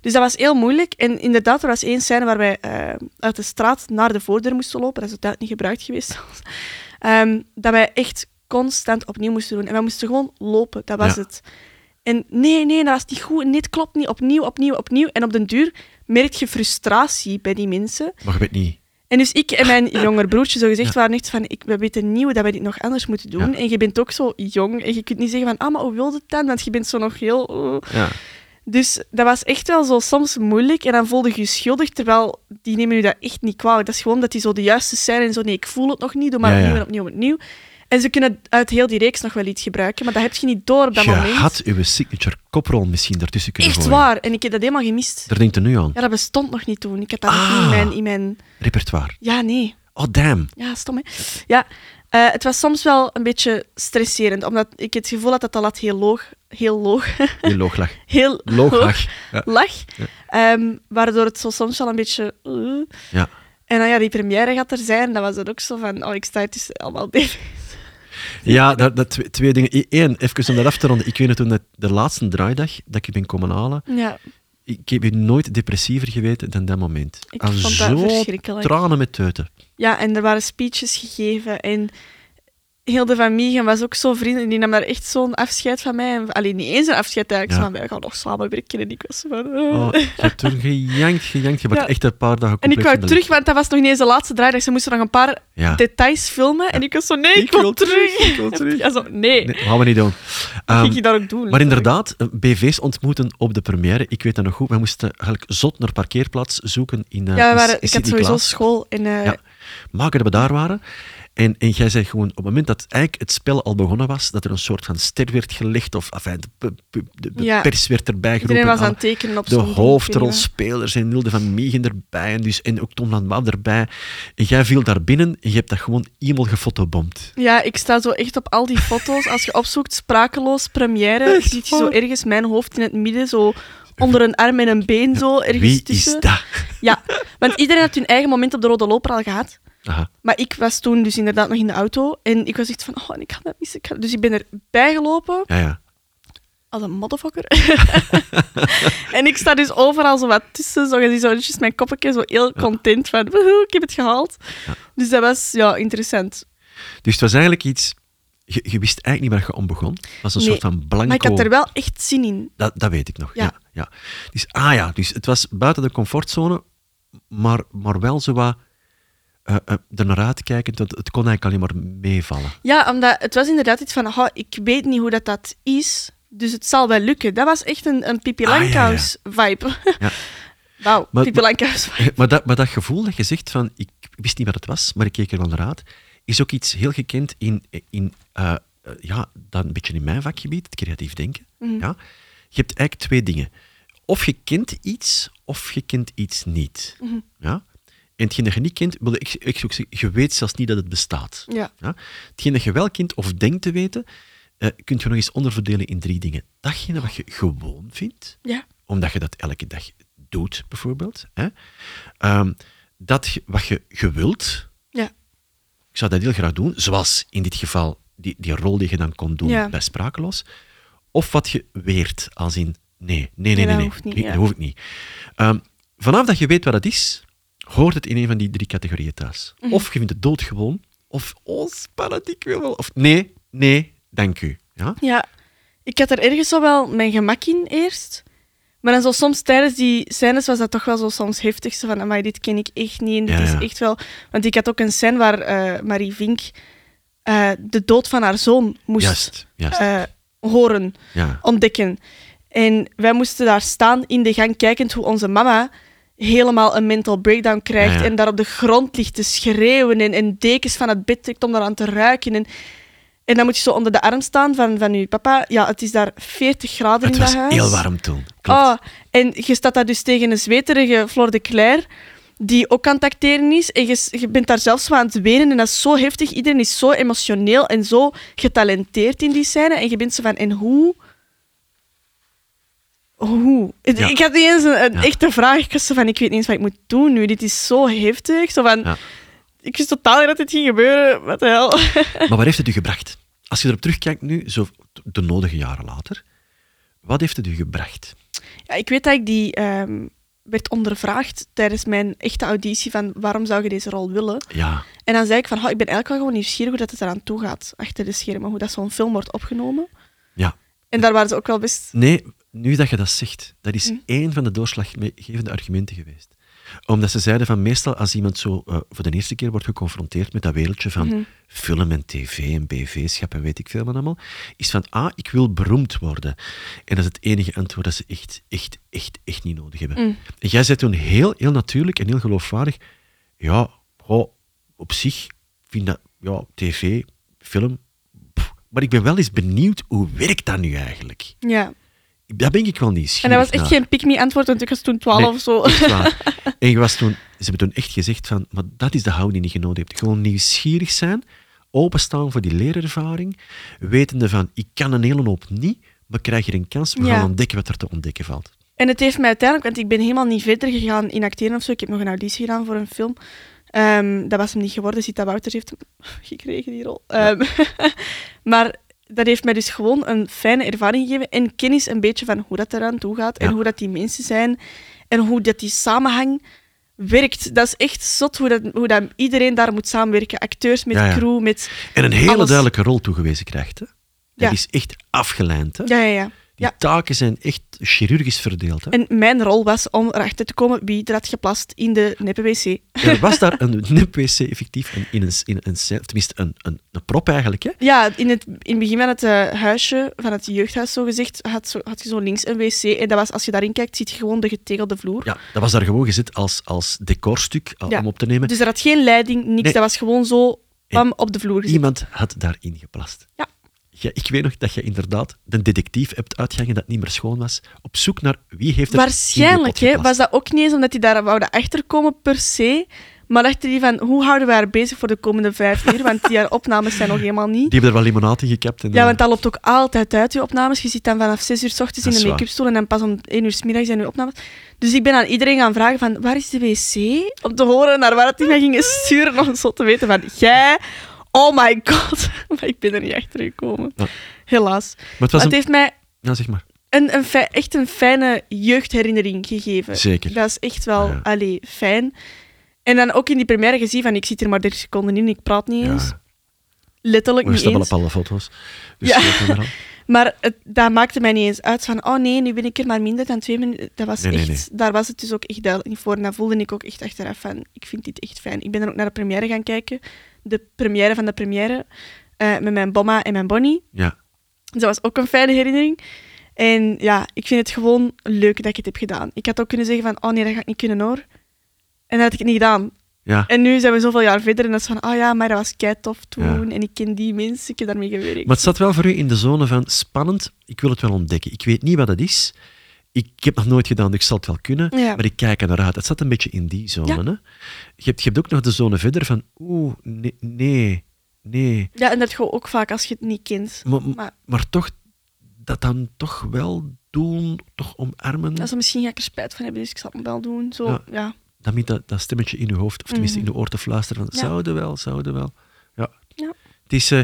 Speaker 2: Dus dat was heel moeilijk. En inderdaad, er was één scène waar wij eh, uit de straat naar de voordeur moesten lopen. Dat is tijd niet gebruikt geweest. [laughs] zelfs. Ehm, dat wij echt constant opnieuw moesten doen. En wij moesten gewoon lopen. Dat was
Speaker 1: Ja.
Speaker 2: het. En nee, nee, dat was niet goed. Nee, het klopt niet. Opnieuw, opnieuw, opnieuw. En op den duur merk je frustratie bij die mensen.
Speaker 1: Maar je weet niet.
Speaker 2: En dus ik en
Speaker 1: [laughs]
Speaker 2: mijn jonger broertje, zo gezegd, waren echt van, ik, we weten niet hoe dat we dit nog anders moeten doen.
Speaker 1: Ja.
Speaker 2: En je bent ook zo jong en je kunt niet zeggen van, ah, maar hoe wil het dan? Want je bent zo nog heel... oh.
Speaker 1: Ja.
Speaker 2: Dus dat was echt wel zo soms moeilijk. En dan voelde je je schuldig, terwijl die nemen je dat echt niet kwalijk. Dat is gewoon dat die zo de juiste zijn en zo. Nee, ik voel het nog niet, doe maar
Speaker 1: Ja, ja.
Speaker 2: opnieuw en opnieuw en opnieuw. En ze kunnen uit heel die reeks nog wel iets gebruiken, maar dat heb je niet door op dat
Speaker 1: je
Speaker 2: moment.
Speaker 1: had uw signature koprol misschien daartussen kunnen
Speaker 2: echt
Speaker 1: gooien.
Speaker 2: waar. En ik heb dat helemaal gemist.
Speaker 1: Daar denkt u nu aan.
Speaker 2: Ja, dat bestond nog niet toen. Ik had dat nog niet
Speaker 1: Ah.
Speaker 2: in mijn, in mijn...
Speaker 1: Repertoire.
Speaker 2: Ja, nee.
Speaker 1: Oh, damn.
Speaker 2: Ja, stom hè. Ja, eh, het was soms wel een beetje stresserend, omdat ik het gevoel had dat de lat heel loog, heel loog,
Speaker 1: Je looglag.
Speaker 2: [laughs] heel
Speaker 1: Looglag.
Speaker 2: hoog
Speaker 1: Ja.
Speaker 2: lag, Ehm, waardoor het zo soms wel een beetje... eh.
Speaker 1: Ja.
Speaker 2: En dan ja, die première gaat er zijn, dan was het ook zo van, oh, ik sta het dus allemaal [laughs] bij.
Speaker 1: Ja, dat, dat, twee, twee dingen. E- Eén, even om dat af te ronden. Ik weet het toen dat de laatste draaidag dat ik ben komen halen,
Speaker 2: Ja,
Speaker 1: ik heb je nooit depressiever geweten dan dat moment.
Speaker 2: Ik
Speaker 1: Aan
Speaker 2: vond dat
Speaker 1: zo
Speaker 2: verschrikkelijk.
Speaker 1: tranen met teuten.
Speaker 2: ja, en er waren speeches gegeven en heel de familie was ook zo vriendelijk, die nam daar echt zo'n afscheid van mij. En- Allee, niet eens een afscheid eigenlijk,
Speaker 1: Ja.
Speaker 2: zo van, wij gaan nog samen werken en ik was zo van... eh. [laughs]
Speaker 1: Oh, je hebt toen gejankt, gejankt. Je hebt
Speaker 2: Ja.
Speaker 1: echt een paar dagen
Speaker 2: En ik
Speaker 1: compleet
Speaker 2: wou
Speaker 1: van de
Speaker 2: terug, want dat was nog niet eens de laatste draaidag. Ze moesten nog een paar
Speaker 1: Ja.
Speaker 2: details filmen. En ik was zo, nee, ik,
Speaker 1: Ik
Speaker 2: wil,
Speaker 1: wil
Speaker 2: terug. [laughs]
Speaker 1: terug, ik wil terug.
Speaker 2: Ja, zo, nee,
Speaker 1: Nee, gaan we niet doen.
Speaker 2: dat
Speaker 1: Ehm,
Speaker 2: ging ik daar ook doen.
Speaker 1: maar inderdaad, eh, BV's ontmoeten op de première. Ik weet dat nog goed. We moesten eigenlijk zot naar parkeerplaats zoeken in eh
Speaker 2: Ja, we
Speaker 1: in
Speaker 2: waren,
Speaker 1: S-
Speaker 2: ik had
Speaker 1: Sint-Niklaas.
Speaker 2: sowieso school. En, eh,
Speaker 1: Ja. Maar dat we daar waren. En, en jij zei gewoon, op het moment dat eigenlijk het spel al begonnen was, dat er een soort van ster werd gelegd, of enfin, de, pe- pe- de- de
Speaker 2: Ja.
Speaker 1: pers werd erbij geroepen.
Speaker 2: iedereen was aan
Speaker 1: alle-
Speaker 2: het tekenen op
Speaker 1: de
Speaker 2: zo'n ding, ik weet
Speaker 1: hoofdrolspelers en Nilde van Miegen erbij en, dus, en ook Tom Landbouw erbij. En jij viel daar binnen en je hebt dat gewoon iemand gefotobomd.
Speaker 2: niet. Ja, ik sta zo echt op al die [laughs] foto's. Als je opzoekt, sprakeloos, première,
Speaker 1: Echt
Speaker 2: ziet je zo
Speaker 1: waar?
Speaker 2: ergens mijn hoofd in het midden, zo onder een arm en een been, zo ergens
Speaker 1: Wie
Speaker 2: tussen.
Speaker 1: is dat? [laughs]
Speaker 2: Ja, want iedereen had hun eigen moment op de rode loper al gehad.
Speaker 1: Aha.
Speaker 2: Maar ik was toen dus inderdaad nog in de auto. En ik was echt van, oh, en ik ga dat missen. ik ga- Dus ik ben erbij gelopen,
Speaker 1: Ja, ja.
Speaker 2: als een motherfucker. [laughs] en ik sta dus overal zo wat tussen. Zo, je ziet zo netjes mijn koppetje, zo heel content van, woehoe, ik heb het gehaald. Dus dat was, ja, interessant.
Speaker 1: Dus het was eigenlijk iets... Je, je wist eigenlijk niet waar je om begon. Het was een
Speaker 2: Nee,
Speaker 1: soort van blanco...
Speaker 2: Maar ik had er wel echt zin in.
Speaker 1: Dat, dat weet ik nog, ja.
Speaker 2: Ja.
Speaker 1: ja, Dus, ah ja, dus het was buiten de comfortzone, maar, maar wel zo wat eh eh, er naar uitkijkend. Het, het kon eigenlijk alleen maar meevallen.
Speaker 2: Ja, omdat het was inderdaad iets van, oh, ik weet niet hoe dat, dat is, dus het zal wel lukken. Dat was echt een, een Pippi
Speaker 1: Ah, ja, ja.
Speaker 2: Langkous-vibe.
Speaker 1: Ja.
Speaker 2: [laughs] Wauw,
Speaker 1: Maar-
Speaker 2: Pippi Langkous-vibe.
Speaker 1: [laughs] Maar dat, maar dat gevoel dat je zegt van, ik wist niet wat het was, maar ik keek er wel naar uit, is ook iets heel gekend in, in eh, eh, ja, dan een beetje in mijn vakgebied, het creatief denken. Ja? Je hebt eigenlijk twee dingen. Of je kent iets, of je kent iets niet. Ja? En hetgeen dat je niet kent, wil ik, ik zou ook zeggen, je weet zelfs niet dat het bestaat.
Speaker 2: Ja.
Speaker 1: Ja? Hetgeen dat je wel kent of denkt te weten, eh kun je nog eens onderverdelen in drie dingen. Datgene wat je gewoon vindt,
Speaker 2: Ja.
Speaker 1: omdat je dat elke dag doet, bijvoorbeeld. Hè? Ehm, dat je- wat je gewild,
Speaker 2: Ja.
Speaker 1: ik zou dat heel graag doen, zoals in dit geval die, die rol die je dan kon doen
Speaker 2: Ja.
Speaker 1: bij Sprakeloos. Of wat je weert, als in nee, nee, nee, nee,
Speaker 2: dat
Speaker 1: nee,
Speaker 2: hoeft niet,
Speaker 1: Nee,
Speaker 2: ja.
Speaker 1: dat hoef ik niet. Ehm, vanaf dat je weet wat dat is, hoort het in een van die drie categorieën thuis.
Speaker 2: Mhm.
Speaker 1: Of je vindt het doodgewoon, of oh, spannend, ik wil wel, of nee, nee, dank u. Ja?
Speaker 2: Ja, ik had er ergens zo wel mijn gemak in eerst. Maar dan zo soms tijdens die scènes was dat toch wel zo soms heftig. Zo van, amai, dit ken ik echt niet. En dit
Speaker 1: Ja, ja.
Speaker 2: is echt wel... Want ik had ook een scène waar eh, Marie Vink eh, de dood van haar zoon moest
Speaker 1: Juist, juist.
Speaker 2: eh, horen,
Speaker 1: ja.
Speaker 2: ontdekken. En wij moesten daar staan in de gang, kijkend hoe onze mama helemaal een mental breakdown krijgt
Speaker 1: Ah, Ja, ja.
Speaker 2: en daar op de grond ligt te schreeuwen en, en dekens van het bed trekt om daaraan te ruiken. En, en dan moet je zo onder de arm staan van, van je papa. Ja, het is daar 40 graden
Speaker 1: Het
Speaker 2: in dat
Speaker 1: was
Speaker 2: huis.
Speaker 1: heel warm toen. Klopt.
Speaker 2: Oh, en je staat daar dus tegen een zweterige Flor de Claire, die ook aan het acteren is. En je, je bent daar zelfs van aan het wenen. En dat is zo heftig. Iedereen is zo emotioneel en zo getalenteerd in die scène. En je bent zo van, en hoe... Hoe? Ik-
Speaker 1: Ja.
Speaker 2: Ik had niet eens een, een
Speaker 1: Ja.
Speaker 2: echte vraag. Ik was zo van, ik weet niet eens wat ik moet doen nu. Dit is zo heftig. Zo van,
Speaker 1: Ja.
Speaker 2: ik wist totaal niet dat dit ging gebeuren. Wat de hel. [laughs]
Speaker 1: Maar waar heeft het u gebracht? Als je erop terugkijkt nu, zo de nodige jaren later, wat heeft het u gebracht?
Speaker 2: Ja, ik weet dat ik die ehm, werd ondervraagd tijdens mijn echte auditie van waarom zou je deze rol willen?
Speaker 1: Ja,
Speaker 2: En dan zei ik van, "Goh, ik ben eigenlijk wel gewoon nieuwsgierig hoe dat het eraan toe gaat, achter de schermen, hoe dat zo'n film wordt opgenomen.
Speaker 1: ja.
Speaker 2: En daar waren ze ook wel best...
Speaker 1: Nee, nu dat je dat zegt, dat is één van de doorslaggevende argumenten geweest. Omdat ze zeiden van meestal als iemand zo eh, voor de eerste keer wordt geconfronteerd met dat wereldje van film en tv en bv-schap en weet ik veel wat allemaal, is van, ah, ik wil beroemd worden. En dat is het enige antwoord dat ze echt, echt, echt, echt niet nodig hebben. En jij zei toen heel, heel natuurlijk en heel geloofwaardig, ja, goh, op zich ik vind dat, ja, tv, film, pff, maar ik ben wel eens benieuwd, hoe werkt dat nu eigenlijk?
Speaker 2: Ja.
Speaker 1: Daar ben ik wel niet
Speaker 2: En
Speaker 1: nieuwsgierig
Speaker 2: dat was echt
Speaker 1: naar.
Speaker 2: geen pick-me antwoord, want ik was toen 12
Speaker 1: Nee,
Speaker 2: of zo.
Speaker 1: echt waar.
Speaker 2: [laughs]
Speaker 1: En je was toen, ze hebben toen echt gezegd van, maar dat is de houding die je nodig hebt. Gewoon nieuwsgierig zijn, openstaan voor die leerervaring, wetende van, ik kan een hele hoop niet, maar krijg je een kans, we
Speaker 2: Ja.
Speaker 1: gaan ontdekken wat er te ontdekken valt.
Speaker 2: En het heeft mij uiteindelijk, want ik ben helemaal niet verder gegaan in acteren of zo. Ik heb nog een auditie gedaan voor een film. Ehm, dat was hem niet geworden. Zita Wouters heeft hem [laughs] gekregen, die rol. Ehm, [laughs] maar dat heeft mij dus gewoon een fijne ervaring gegeven. En kennis een beetje van hoe dat eraan toe gaat. En
Speaker 1: Ja.
Speaker 2: hoe dat die mensen zijn. En hoe dat die samenhang werkt. Dat is echt zot hoe, dat, hoe dat iedereen daar moet samenwerken. Acteurs met
Speaker 1: Ja, ja.
Speaker 2: crew, met...
Speaker 1: En een hele
Speaker 2: Alles.
Speaker 1: duidelijke rol toegewezen krijgt. Hè? Dat
Speaker 2: Ja.
Speaker 1: is echt afgeleid. Hè?
Speaker 2: Ja, ja, ja.
Speaker 1: Die
Speaker 2: ja.
Speaker 1: taken zijn echt chirurgisch verdeeld. Hè?
Speaker 2: En mijn rol was om erachter te komen wie er had geplast in de neppe wc.
Speaker 1: Er was daar een nep-wc effectief in, in een, in een cel, tenminste een, een, een prop eigenlijk. Hè?
Speaker 2: Ja, in het, in het begin van het eh, huisje, van het jeugdhuis zo gezegd, had, zo, had je zo links een wc. En dat was, als je daarin kijkt, ziet je gewoon de getegelde vloer.
Speaker 1: Ja, dat was daar gewoon gezet als, als decorstuk al-
Speaker 2: Ja.
Speaker 1: om op te nemen.
Speaker 2: Dus er had geen leiding, niks.
Speaker 1: Nee.
Speaker 2: Dat was gewoon zo bam, op de vloer gezet.
Speaker 1: Iemand had daarin geplast.
Speaker 2: dus- Ja.
Speaker 1: Ja, ik weet nog dat je inderdaad de detectief hebt uitgehangen dat niet meer schoon was, op zoek naar wie heeft het
Speaker 2: Waarschijnlijk hè, was dat ook niet eens omdat die daar wouden achterkomen per se. Maar dachten die van, hoe houden we haar bezig voor de komende vijf uur? Want die haar opnames zijn nog helemaal niet.
Speaker 1: Die hebben er wel limonade in gekapt. En,
Speaker 2: Ja,
Speaker 1: eh,
Speaker 2: want dat loopt ook altijd uit, je opnames. Je zit dan vanaf 6 uur s ochtends
Speaker 1: Dat is
Speaker 2: in de
Speaker 1: waar.
Speaker 2: make-up stoel en dan pas om 1 uur s middags zijn je opnames. Dus ik ben aan iedereen gaan vragen van, waar is de wc? Om te horen naar waar die mij gingen sturen, om zo te weten van, jij... Oh my god. [laughs] Maar ik ben er niet achter gekomen.
Speaker 1: Ja.
Speaker 2: Helaas.
Speaker 1: maar het
Speaker 2: Maar
Speaker 1: was
Speaker 2: het
Speaker 1: een...
Speaker 2: heeft mij
Speaker 1: Ja, zeg maar.
Speaker 2: een, een fi- echt een fijne jeugdherinnering gegeven.
Speaker 1: Zeker.
Speaker 2: Dat is echt wel
Speaker 1: Ja.
Speaker 2: allee, fijn. En dan ook in die première gezien van, ik zit er maar 30 seconden in, ik praat niet
Speaker 1: Ja.
Speaker 2: eens. Letterlijk
Speaker 1: Maar we
Speaker 2: niet
Speaker 1: staan wel
Speaker 2: eens.
Speaker 1: op alle foto's. Dus
Speaker 2: Ja.
Speaker 1: dat kan wel.
Speaker 2: Maar het, dat maakte mij niet eens uit van, oh nee, nu ben ik er maar minder dan twee minuten. Dat was
Speaker 1: Nee, nee,
Speaker 2: echt, Daar was het dus ook echt duidelijk niet voor. En dat voelde ik ook echt achteraf van, ik vind dit echt fijn. Ik ben dan ook naar de première gaan kijken. De première van de première. eh, met mijn bomma en mijn bonnie.
Speaker 1: Ja.
Speaker 2: Dus dat was ook een fijne herinnering. En ja, ik vind het gewoon leuk dat ik het heb gedaan. Ik had ook kunnen zeggen van, oh nee, dat ga ik niet kunnen hoor. En dat had ik niet gedaan.
Speaker 1: ja.
Speaker 2: En nu zijn we zoveel jaar verder en dat is van, ah ja, maar dat was kei tof toen.
Speaker 1: Ja.
Speaker 2: En ik ken die mensen, ik heb daarmee gewerkt.
Speaker 1: Maar het zat wel voor u in de zone van spannend, ik wil het wel ontdekken. Ik weet niet wat het is. Ik heb nog nooit gedaan, dus ik zal het wel kunnen.
Speaker 2: Ja.
Speaker 1: Maar ik kijk er naar uit. Het zat een beetje in die zone.
Speaker 2: Ja.
Speaker 1: Hè? Je, hebt, je hebt ook nog de zone verder van, oeh, nee, nee, nee.
Speaker 2: Ja, en dat gewoon ook vaak als je het niet kent.
Speaker 1: Maar,
Speaker 2: Maar-
Speaker 1: maar, toch, dat dan toch wel doen, toch omarmen.
Speaker 2: Ja,
Speaker 1: Dat,
Speaker 2: zo, misschien ga ik er spijt van hebben, dus ik zal het wel doen. Zo, ja.
Speaker 1: Ja. moet dat, dat stemmetje in je hoofd, of tenminste in je oor te fluisteren van,
Speaker 2: Mhm. Ja.
Speaker 1: zouden wel, zouden wel. Ja.
Speaker 2: Ja.
Speaker 1: Het, is, eh,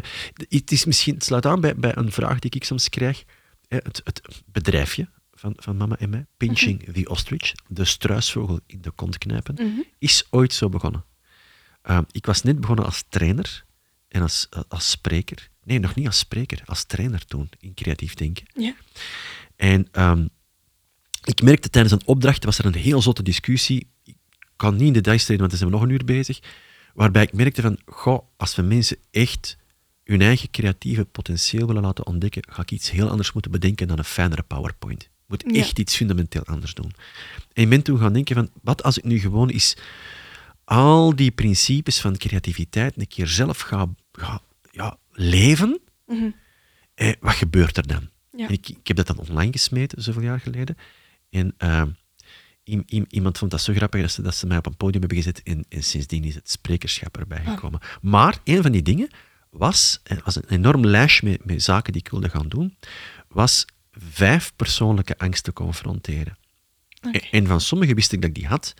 Speaker 1: het, is misschien, het sluit aan bij, bij een vraag die ik soms krijg. Eh, Het, het bedrijfje van, van mama en mij, Pinching
Speaker 2: Mhm.
Speaker 1: the Ostrich, de struisvogel in de kont knijpen, is ooit zo begonnen. Ehm, ik was net begonnen als trainer en als, eh, als spreker. Nee, nog niet als spreker, als trainer toen, in creatief denken.
Speaker 2: Ja.
Speaker 1: En ehm, ik merkte tijdens een opdracht, was er een heel zotte discussie. Ik kan niet in details treden, want dan zijn we nog een uur bezig. Waarbij ik merkte van, goh, als we mensen echt hun eigen creatieve potentieel willen laten ontdekken, ga ik iets heel anders moeten bedenken dan een fijnere PowerPoint. Ik moet
Speaker 2: Ja.
Speaker 1: echt iets fundamenteel anders doen. En ik ben toen gaan denken van, wat als ik nu gewoon eens al die principes van creativiteit een keer zelf ga, ga ja, leven, eh, wat gebeurt er dan?
Speaker 2: Ja.
Speaker 1: En ik, ik heb dat dan online gesmeten, zoveel jaar geleden. En eh, iem- iem- iemand vond dat zo grappig dat ze, dat ze mij op een podium hebben gezet. En, en sindsdien is het sprekerschap erbij
Speaker 2: Ah.
Speaker 1: gekomen. Maar een van die dingen was, en het was een enorm lijstje met, met zaken die ik wilde gaan doen, was vijf persoonlijke angsten confronteren. En, en van sommige wist ik dat ik die had.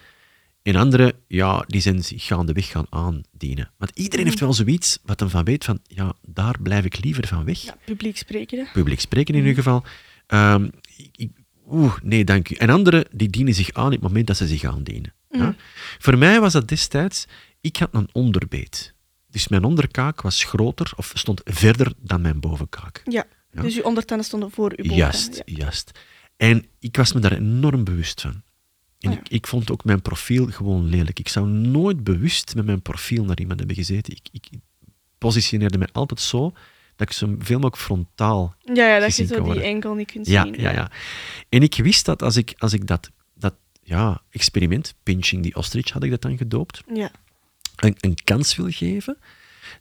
Speaker 1: En andere, ja, die zijn zich gaandeweg gaan aandienen. Want
Speaker 2: Mm.
Speaker 1: iedereen heeft wel zoiets wat hem van weet van, ja, daar blijf ik liever van weg
Speaker 2: Ja, publiek spreken. hè.
Speaker 1: publiek spreken in ieder geval. Ehm, ik- ik- Oeh, nee, dank u. En anderen die dienen zich aan op het moment dat ze zich aandienen. Ja? Voor mij was dat destijds, ik had een onderbeet. Dus mijn onderkaak was groter of stond verder dan mijn bovenkaak.
Speaker 2: Ja.
Speaker 1: Ja.
Speaker 2: dus uw ondertanden stonden voor uw boven.
Speaker 1: Juist, juist. En ik was me daar enorm bewust van. En
Speaker 2: Ja.
Speaker 1: ik, ik vond ook mijn profiel gewoon lelijk. Ik zou nooit bewust met mijn profiel naar iemand hebben gezeten. Ik, ik positioneerde mij altijd zo dat ik zo veel mogelijk frontaal
Speaker 2: Ja, ja dat je
Speaker 1: Gezien
Speaker 2: zo
Speaker 1: kan
Speaker 2: die
Speaker 1: worden.
Speaker 2: enkel niet kunt
Speaker 1: ja,
Speaker 2: zien.
Speaker 1: Ja, ja. En ik wist dat als ik, als ik dat, dat ja, experiment, pinching the ostrich had ik dat dan gedoopt,
Speaker 2: Ja.
Speaker 1: een, een kans wil geven,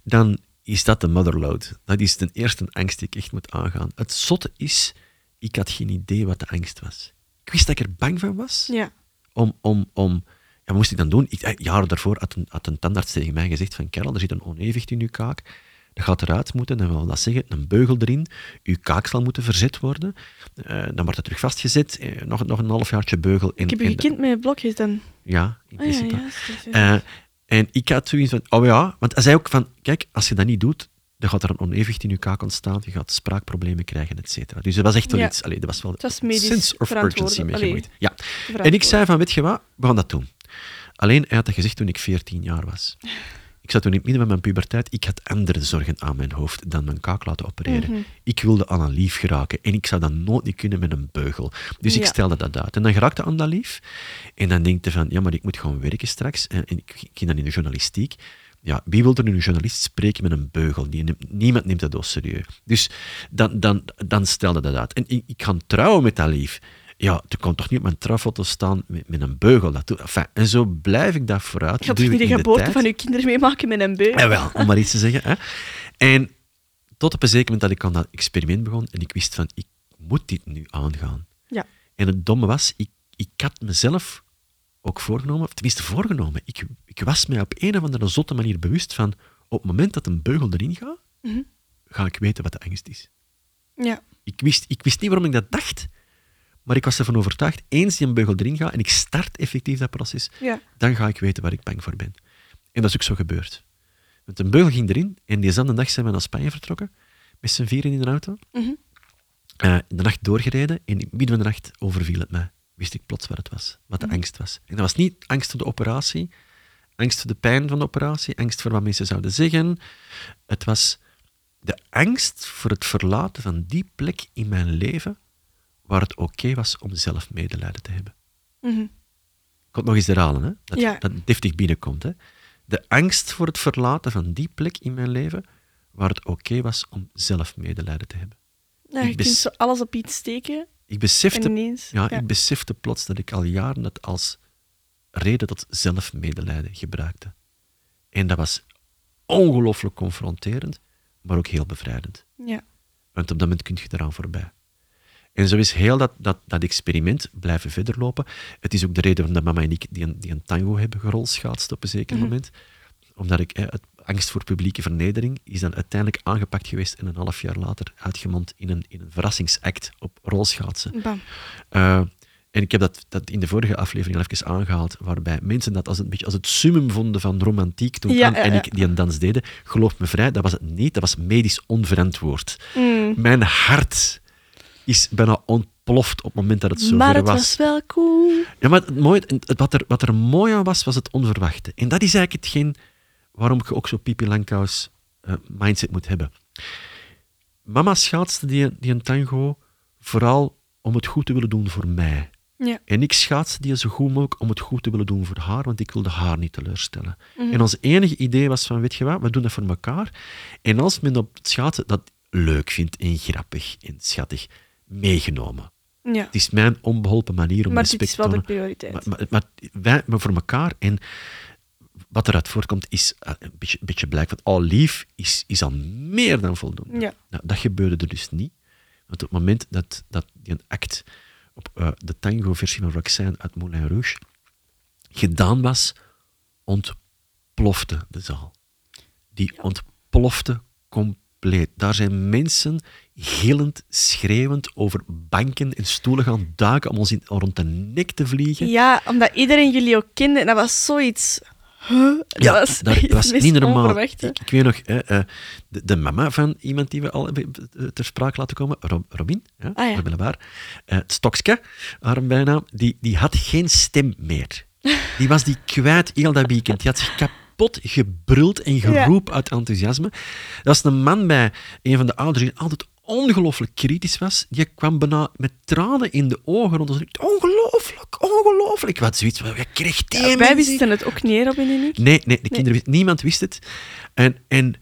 Speaker 1: dan is dat de motherload. Dat is ten eerste een angst die ik echt moet aangaan. Het zotte is, ik had geen idee wat de angst was. Ik wist dat ik er bang van was.
Speaker 2: ja.
Speaker 1: Om, om, om, ja, wat moest ik dan doen? Ik, eh, jaren daarvoor had een, had een tandarts tegen mij gezegd van Karel, er zit een onevenwicht in uw kaak. Dat gaat eruit moeten, dan wil dat zeggen, een beugel erin. Uw kaak zal moeten verzet worden. Eh, dan wordt het terug vastgezet. eh, nog, nog een halfjaartje beugel. En,
Speaker 2: Ik heb
Speaker 1: en-
Speaker 2: een kind met blokjes dan.
Speaker 1: Ja, in
Speaker 2: Ah, ja,
Speaker 1: principe.
Speaker 2: ja. is- is-
Speaker 1: Eh, en ik had zoiets van, oh ja, want hij zei ook van, kijk, als je dat niet doet, dan gaat er een onevenwicht in je kaak ontstaan, je gaat spraakproblemen krijgen, et cetera. Dus dat was echt wel
Speaker 2: Ja.
Speaker 1: iets, allee, dat was wel
Speaker 2: Het was
Speaker 1: een
Speaker 2: medisch
Speaker 1: sense of
Speaker 2: verantwoordelijk.
Speaker 1: urgency mee
Speaker 2: Allee,
Speaker 1: gemoeid. Ja. En ik
Speaker 2: verantwoordelijk.
Speaker 1: zei van, weet je wat, we gaan dat doen. Alleen, hij had dat gezegd toen ik 14 jaar was. Ik zat toen in het midden van mijn puberteit, ik had andere zorgen aan mijn hoofd dan mijn kaak laten opereren.
Speaker 2: Mhm.
Speaker 1: Ik wilde aan een lief geraken en ik zou dat nooit niet kunnen met een beugel. Dus ik
Speaker 2: Ja.
Speaker 1: stelde dat uit. En dan geraakte aan dat lief en dan denk je van, ja, maar ik moet gewoon werken straks. En, en ik ging dan in de journalistiek. Ja, wie wil er nu een journalist spreken met een beugel? Die neemt- niemand neemt dat dus serieus. Dus dan, dan, dan stelde dat uit. En ik, ik ga trouwen met dat lief ja, er komt toch niet op mijn trouwfoto staan met, met een beugel. Dat doe, enfin, en zo blijf ik dat vooruit.
Speaker 2: Je gaat toch niet de geboorte van uw kinderen meemaken met een beu?
Speaker 1: Ja, wel, om maar iets te zeggen. Hè. En tot op een zeker moment dat ik aan dat experiment begon en ik wist van, ik moet dit nu aangaan.
Speaker 2: Ja.
Speaker 1: En het domme was, ik, ik had mezelf ook voorgenomen, of tenminste voorgenomen, ik, ik was mij op een of andere zotte manier bewust van, op het moment dat een beugel erin gaat,
Speaker 2: Mhm.
Speaker 1: ga ik weten wat de angst is.
Speaker 2: Ja.
Speaker 1: Ik wist, ik wist niet waarom ik dat dacht, maar ik was ervan overtuigd, eens die een beugel erin gaat en ik start effectief dat proces,
Speaker 2: Ja.
Speaker 1: dan ga ik weten waar ik bang voor ben. En dat is ook zo gebeurd. Want een beugel ging erin en diezelfde dag zijn we naar Spanje vertrokken, met z'n vieren in een auto.
Speaker 2: Mhm.
Speaker 1: Eh, de nacht doorgereden en in het midden van de nacht overviel het mij. Wist ik plots wat het was, wat de angst was. En dat was niet angst voor de operatie, angst voor de pijn van de operatie, angst voor wat mensen zouden zeggen. Het was de angst voor het verlaten van die plek in mijn leven waar het oké was om zelf medelijden te hebben.
Speaker 2: Mhm.
Speaker 1: Ik kon het nog eens herhalen, hè? Dat,
Speaker 2: Ja.
Speaker 1: dat het deftig binnenkomt. Hè? De angst voor het verlaten van die plek in mijn leven waar het oké was om zelf medelijden te hebben.
Speaker 2: Ja,
Speaker 1: Ik
Speaker 2: je
Speaker 1: bes-
Speaker 2: kunt zo alles op iets steken
Speaker 1: Ik
Speaker 2: en
Speaker 1: besefte
Speaker 2: ineens...
Speaker 1: Ja, ik besefte plots dat ik al jaren dat als reden tot zelfmedelijden gebruikte. En dat was ongelooflijk confronterend, maar ook heel bevrijdend.
Speaker 2: Ja.
Speaker 1: Want op dat moment kun je eraan voorbij. En zo is heel dat, dat, dat experiment blijven verder lopen. Het is ook de reden waarom dat mama en ik die een, die een tango hebben gerolschaatst op een zeker moment. Omdat ik eh, het, angst voor publieke vernedering is dan uiteindelijk aangepakt geweest en een half jaar later uitgemond in een, in een verrassingsact op rolschaatsen.
Speaker 2: Bam.
Speaker 1: Eh, en ik heb dat, dat in de vorige aflevering al even aangehaald, waarbij mensen dat als een beetje als het summum vonden van romantiek toen
Speaker 2: Ja,
Speaker 1: Anne en
Speaker 2: ja,
Speaker 1: ik die een dans deden. Geloof me vrij, dat was het niet. Dat was medisch onverantwoord.
Speaker 2: Mm.
Speaker 1: Mijn hart is bijna ontploft op het moment dat het zover
Speaker 2: Maar het
Speaker 1: was.
Speaker 2: was wel cool.
Speaker 1: Ja, maar het mooie, het- wat, er, wat er mooi aan was, was het onverwachte. En dat is eigenlijk hetgeen waarom je ook zo'n Pipi Langkous eh, mindset moet hebben. Mama schaatste die, die een tango vooral om het goed te willen doen voor mij.
Speaker 2: Ja.
Speaker 1: En ik schaatste die zo goed mogelijk om het goed te willen doen voor haar, want ik wilde haar niet teleurstellen.
Speaker 2: Mhm.
Speaker 1: En ons enige idee was van, weet je wat, we doen dat voor elkaar. En als men op het schaatsen dat leuk vindt en grappig en schattig, meegenomen.
Speaker 2: Ja.
Speaker 1: Het is mijn onbeholpen manier om
Speaker 2: Maar dit
Speaker 1: respect
Speaker 2: is
Speaker 1: te
Speaker 2: wel de
Speaker 1: tonen.
Speaker 2: prioriteit.
Speaker 1: Maar, maar, maar wij maar voor elkaar en wat eruit voortkomt is eh, een beetje, een beetje blijk. Want al lief is, is al meer dan voldoende.
Speaker 2: Ja.
Speaker 1: Nou, dat gebeurde er dus niet. Want op het moment dat, dat die een act op eh, de tango-versie van Roxanne uit Moulin Rouge gedaan was, ontplofte de zaal. Die ontplofte compleet. Daar zijn mensen gillend, schreeuwend over banken en stoelen gaan duiken om ons in, rond de nek te vliegen.
Speaker 2: Ja, omdat iedereen jullie ook kende. En dat was zoiets... Huh? Dat
Speaker 1: Ja,
Speaker 2: was,
Speaker 1: daar-
Speaker 2: iets
Speaker 1: dat
Speaker 2: [laughs]
Speaker 1: was
Speaker 2: meest
Speaker 1: niet normaal.
Speaker 2: onverwachte.
Speaker 1: Ik, ik weet nog, hè, eh, de, de mama van iemand die we al hebben, eh, ter sprake laten komen, Rob- Robin, ja,
Speaker 2: Ah, ja.
Speaker 1: Robin Labaar, eh, Stokske, haar bijnaam, die, die had geen stem meer. Die was die kwijt heel dat weekend. Die had zich kapot gebruld en geroep uit enthousiasme. Dat was een man bij een van de ouders die altijd ongelooflijk kritisch was, die kwam bijna met tranen in de ogen rond. ons. Ongelooflijk, ongelooflijk. Wat zoiets, wat wat kreeg die
Speaker 2: Ja, wij
Speaker 1: mensen?
Speaker 2: wisten het ook niet, hè, Robin en ik.
Speaker 1: Nee, nee, de kinderen wisten- niemand wist het. En, en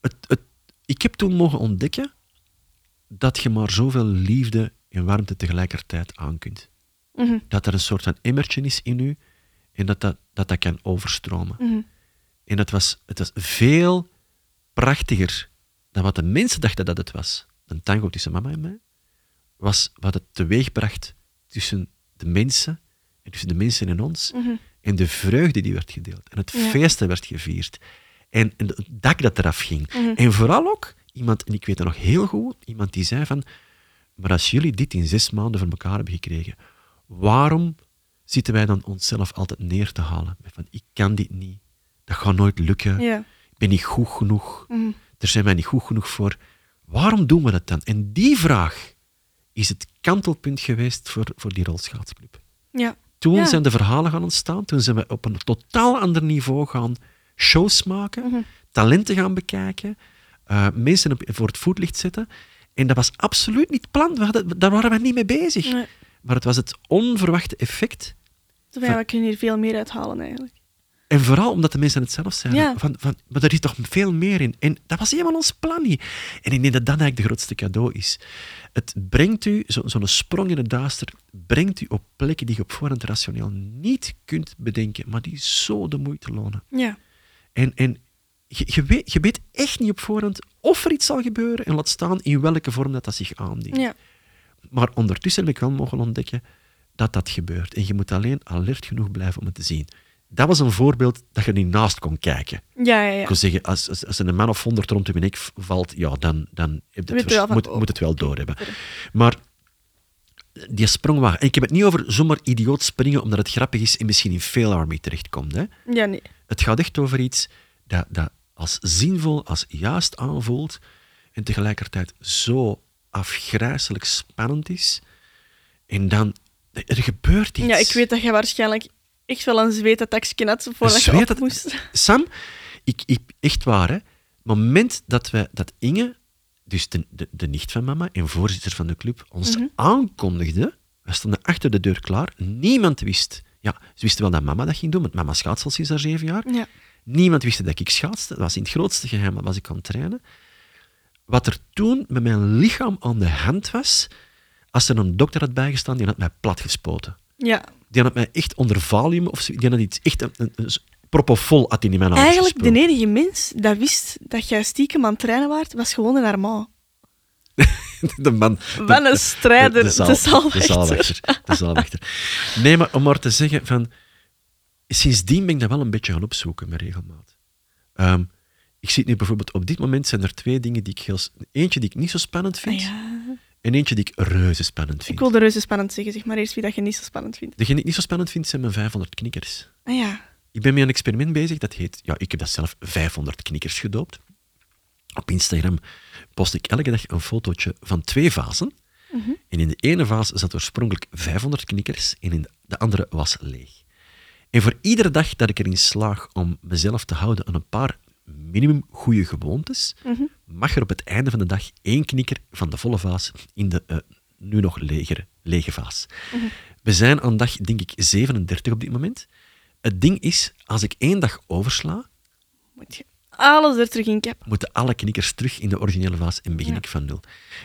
Speaker 1: het, het, ik heb toen mogen ontdekken dat je maar zoveel liefde en warmte tegelijkertijd aan kunt.
Speaker 2: Mhm,
Speaker 1: Dat er een soort van emmertje is in u en dat dat, dat, dat kan overstromen.
Speaker 2: mhm.
Speaker 1: En dat was, het was veel prachtiger dan wat de mensen dachten dat het was. Een tango tussen mama en mij was wat het teweegbracht tussen de mensen en tussen de mensen en ons.
Speaker 2: Mhm.
Speaker 1: En de vreugde die werd gedeeld. En het
Speaker 2: Ja.
Speaker 1: feest dat werd gevierd. En, en het dak dat eraf ging.
Speaker 2: Mhm.
Speaker 1: En vooral ook iemand, en ik weet het nog heel goed, iemand die zei van, maar als jullie dit in zes maanden voor elkaar hebben gekregen, waarom zitten wij dan onszelf altijd neer te halen? Met Van, ik kan dit niet. Dat gaat nooit lukken.
Speaker 2: Ja.
Speaker 1: Ik ben niet goed genoeg.
Speaker 2: Mhm.
Speaker 1: Er zijn wij niet goed genoeg voor. Waarom doen we dat dan? En die vraag is het kantelpunt geweest voor, voor die rolschaatsclub.
Speaker 2: ja.
Speaker 1: Toen
Speaker 2: Ja.
Speaker 1: zijn de verhalen gaan ontstaan. Toen zijn we op een totaal ander niveau gaan shows maken,
Speaker 2: Mhm.
Speaker 1: talenten gaan bekijken, eh, mensen op- voor het voetlicht zetten. En dat was absoluut niet het plan. We hadden- daar waren we niet mee bezig.
Speaker 2: Nee.
Speaker 1: Maar het was het onverwachte effect.
Speaker 2: Terwijl we kunnen hier veel meer uithalen, eigenlijk.
Speaker 1: En vooral omdat de mensen het zelf zeiden.
Speaker 2: Ja.
Speaker 1: Van, van, maar er zit toch veel meer in. En dat was helemaal ons plan niet. En ik denk dat dat eigenlijk de grootste cadeau is. Het brengt u, zo- zo'n sprong in het duister, brengt u op plekken die je op voorhand rationeel niet kunt bedenken, maar die zo de moeite lonen.
Speaker 2: Ja.
Speaker 1: En, en je, je, weet, je weet echt niet op voorhand of er iets zal gebeuren en laat staan in welke vorm dat, dat zich aandient.
Speaker 2: Ja.
Speaker 1: Maar ondertussen heb ik wel mogen ontdekken dat dat gebeurt. En je moet alleen alert genoeg blijven om het te zien. Dat was een voorbeeld dat je niet naast kon kijken.
Speaker 2: Ja, ja,
Speaker 1: Ik
Speaker 2: ja.
Speaker 1: wil zeggen, als, als, als er een man of honderd rond uw nek v- valt, ja, dan, dan heb je het
Speaker 2: Weet je
Speaker 1: vers-
Speaker 2: wel van,
Speaker 1: moet,
Speaker 2: oh,
Speaker 1: moet het wel doorhebben. Maar die sprongwagen... En ik heb het niet over zomaar idioot springen omdat het grappig is en misschien in Fail Army terechtkomt. Hè?
Speaker 2: Ja, nee.
Speaker 1: Het gaat echt over iets dat, dat als zinvol, als juist aanvoelt en tegelijkertijd zo afgrijzelijk spannend is. En dan, er gebeurt iets.
Speaker 2: Ja, ik weet dat jij waarschijnlijk echt wel een zweetattackje had voordat
Speaker 1: Een
Speaker 2: je op
Speaker 1: zweetatt-
Speaker 2: moest.
Speaker 1: Sam, ik, ik, echt waar, hè. Het moment dat, we, dat Inge, dus de, de, de nicht van mama en voorzitter van de club, ons
Speaker 2: Mhm.
Speaker 1: aankondigde, wij stonden achter de deur klaar, niemand wist. Ja, ze wisten wel dat mama dat ging doen, want mama schaatst al sinds haar zeven jaar.
Speaker 2: Ja.
Speaker 1: Niemand wist dat ik schaatste. Dat was in het grootste geheim, dat was ik aan het trainen. Wat er toen met mijn lichaam aan de hand was, als er een dokter had bijgestaan, die had mij platgespoten.
Speaker 2: Ja.
Speaker 1: Die had mij echt onder valium of zo, die had iets echt een, een, een propofol had die in mijn arm
Speaker 2: Eigenlijk,
Speaker 1: [laughs]
Speaker 2: de enige mens dat wist dat jij stiekem aan het trainen waart, was gewoon een Armand.
Speaker 1: de man.
Speaker 2: Wel een strijder, de,
Speaker 1: zaal-
Speaker 2: zaalwachter.
Speaker 1: De zaalwachter. de zaalwachter. Nee, maar om maar te zeggen, van, sindsdien ben ik dat wel een beetje gaan opzoeken met regelmaat. Ehm, ik zie het nu bijvoorbeeld, op dit moment zijn er twee dingen die ik heel... s- Eentje die ik niet zo spannend
Speaker 2: Ah
Speaker 1: vind,
Speaker 2: ja.
Speaker 1: en eentje die ik reuze spannend
Speaker 2: Ik
Speaker 1: vind.
Speaker 2: wilde reuze spannend zeggen, zeg maar eerst wie dat je niet zo spannend vindt.
Speaker 1: Degene die ik niet zo spannend vind, zijn mijn 500 knikkers.
Speaker 2: Ah ja.
Speaker 1: Ik ben met een experiment bezig, dat heet... Ja, ik heb dat zelf 500 knikkers gedoopt. Op Instagram post ik elke dag een fotootje van twee vazen. En in de ene vaas zat oorspronkelijk 500 knikkers en in de andere was leeg. En voor iedere dag dat ik erin slaag om mezelf te houden aan een paar minimum goede gewoontes, mag er op het einde van de dag één knikker van de volle vaas in de eh, nu nog legere, lege vaas. We zijn aan dag, denk ik, 37 op dit moment. Het ding is, als ik één dag oversla,
Speaker 2: Moet je alles er terug in kappen.
Speaker 1: moeten alle knikkers terug in de originele vaas en begin ik van nul.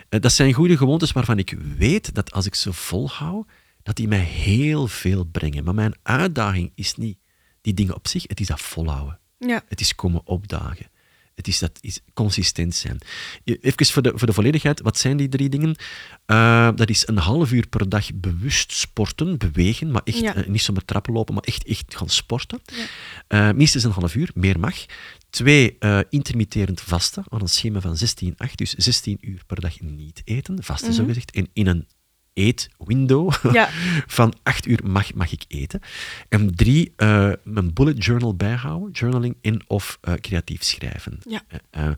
Speaker 1: Eh, Dat zijn goede gewoontes waarvan ik weet dat als ik ze volhoud, dat die mij heel veel brengen. Maar mijn uitdaging is niet die dingen op zich, het is dat volhouden.
Speaker 2: Ja.
Speaker 1: Het is komen opdagen. Het is dat is consistent zijn. Je- Even voor de, voor de volledigheid, wat zijn die drie dingen? Eh, dat is een half uur per dag bewust sporten, bewegen, maar echt
Speaker 2: Ja.
Speaker 1: eh, niet zomaar trappen lopen, maar echt, echt gaan sporten.
Speaker 2: Ja.
Speaker 1: Eh, minstens een half uur, meer mag. Twee, eh, intermitterend vasten aan een schema van 16-8, dus 16 uur per dag niet eten, vasten zo gezegd, en in een eetwindow [laughs]
Speaker 2: Mhm. Ja.
Speaker 1: van 8 uur mag, mag ik eten. En drie, eh, mijn bullet journal bijhouden, journaling en of eh, creatief schrijven.
Speaker 2: Ja.
Speaker 1: Eh, eh,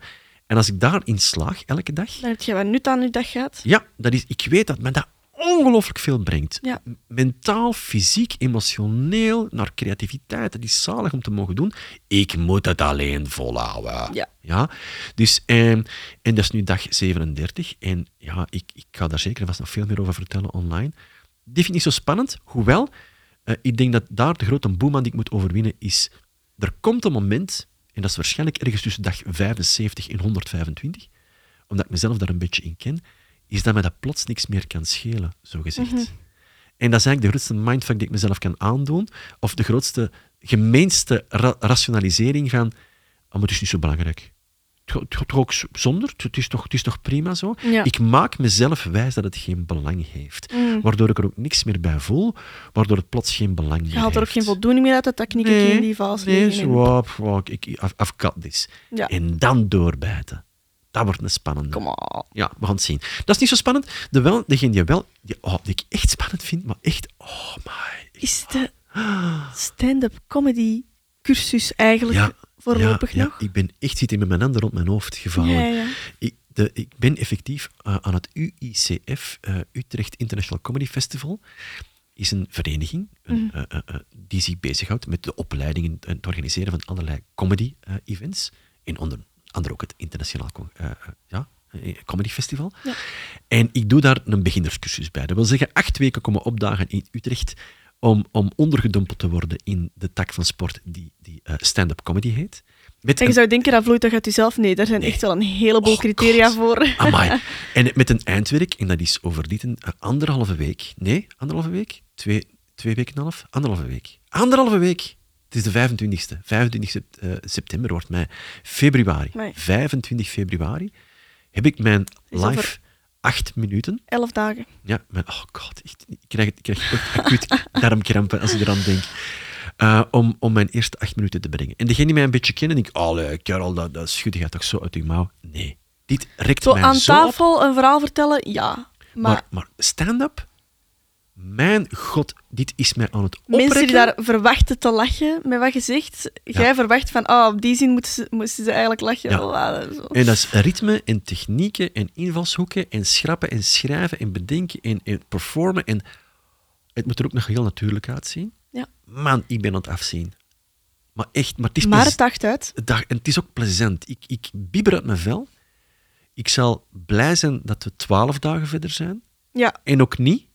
Speaker 1: en als ik daarin slaag elke dag,
Speaker 2: Dan heb je wat nut aan je dag gehad.
Speaker 1: ja, dat is, ik weet dat me dat ongelooflijk veel brengt.
Speaker 2: Ja.
Speaker 1: M- Mentaal, fysiek, emotioneel, naar creativiteit. Dat is zalig om te mogen doen. Ik moet het alleen volhouden.
Speaker 2: Ja.
Speaker 1: Ja? Dus, ehm, en dat is nu dag 37. En ja, ik, ik ga daar zeker en vast nog veel meer over vertellen online. Dit vind ik niet zo spannend, hoewel eh, ik denk dat daar de grote boeman die ik moet overwinnen is. Er komt een moment, en dat is waarschijnlijk ergens tussen dag 75 en 125, omdat ik mezelf daar een beetje in ken, is dat me dat plots niks meer kan schelen, zogezegd. En dat is eigenlijk de grootste mindfuck die ik mezelf kan aandoen, of de grootste, gemeenste ra- rationalisering van, oh, maar het is niet zo belangrijk. Het gaat- Het gaat toch ook z- zonder, het is toch, het is toch prima zo?
Speaker 2: Ja. Mm.
Speaker 1: Ik maak mezelf wijs dat het geen belang heeft. Waardoor ik er ook niks meer bij voel, waardoor het plots geen belang meer
Speaker 2: Je haalt er ook
Speaker 1: heeft.
Speaker 2: geen voldoening meer uit, dat knik ik in die vaas.
Speaker 1: Nee,
Speaker 2: liggen en-
Speaker 1: zo, ah, pff, ah, ik, ik, I've- I've got this.
Speaker 2: Ja.
Speaker 1: En dan doorbijten. Dat wordt een spannende.
Speaker 2: Kom op.
Speaker 1: Ja, we gaan het zien. Dat is niet zo spannend. De wel, degene die wel, die, oh, die ik echt spannend vind, maar echt, oh my.
Speaker 2: Is de stand-up comedy cursus eigenlijk
Speaker 1: Ja,
Speaker 2: voorlopig
Speaker 1: ja,
Speaker 2: nog?
Speaker 1: Ja, ik ben echt zit hier met mijn handen rond mijn hoofd gevouwen.
Speaker 2: Ja, ja.
Speaker 1: Ik, de, ik ben effectief eh, aan het UICF, eh, Utrecht International Comedy Festival, is een vereniging een, eh, eh, eh, die zich bezighoudt met de opleidingen en het organiseren van allerlei comedy-events. en onder andere ook het Internationaal Con- eh, eh, ja, eh, Comedy Festival.
Speaker 2: Ja.
Speaker 1: En ik doe daar een beginnerscursus bij. Dat wil zeggen, acht weken komen opdagen in Utrecht om, om ondergedompeld te worden in de tak van sport die, die eh, stand-up comedy heet. Met
Speaker 2: En je
Speaker 1: een-
Speaker 2: zou denken, dat vloeit toch uit jezelf? Nee, daar zijn
Speaker 1: Nee.
Speaker 2: echt wel een heleboel
Speaker 1: Oh,
Speaker 2: criteria
Speaker 1: God.
Speaker 2: voor.
Speaker 1: Amai. En met een eindwerk, en dat is over dit een eh, anderhalve week. Nee, anderhalve week? Twee, twee weken en een half? Anderhalve week. Anderhalve week! Het is de 25e. 25 sept- eh, september wordt mij. Februari.
Speaker 2: Amai.
Speaker 1: 25 februari heb ik mijn
Speaker 2: is over-
Speaker 1: live acht minuten.
Speaker 2: [laughs] Elf dagen.
Speaker 1: Ja, maar oh god, echt, ik krijg, ik krijg echt acuut [laughs] darmkrampen als ik eraan denk. Eh, om, om mijn eerste acht minuten te brengen. En degene die mij een beetje kennen, denk ik, allee, Carol, dat, dat schudde jij toch zo uit je mouw? Nee. Dit rekt
Speaker 2: Zo
Speaker 1: mij
Speaker 2: aan
Speaker 1: zo op.
Speaker 2: tafel een verhaal vertellen, ja. Maar,
Speaker 1: Maar, maar stand-up? Mijn god, dit is mij aan het oprekken.
Speaker 2: mensen die daar verwachten te lachen met wat je zegt, jij verwacht van, oh, op die zin moeten ze, moesten ze eigenlijk lachen.
Speaker 1: Ja.
Speaker 2: Oh, ah, zo.
Speaker 1: En dat is ritme en technieken en invalshoeken en schrappen en schrijven en bedenken en, en performen. En het moet er ook nog heel natuurlijk uitzien.
Speaker 2: Ja.
Speaker 1: Man, ik ben aan het afzien. Maar echt, maar het dus- is
Speaker 2: Maar
Speaker 1: plez-
Speaker 2: het dacht uit.
Speaker 1: dag- en het is ook plezant. Ik, ik bieber uit mijn vel. Ik zal blij zijn dat we twaalf dagen verder zijn.
Speaker 2: Ja,
Speaker 1: En ook niet,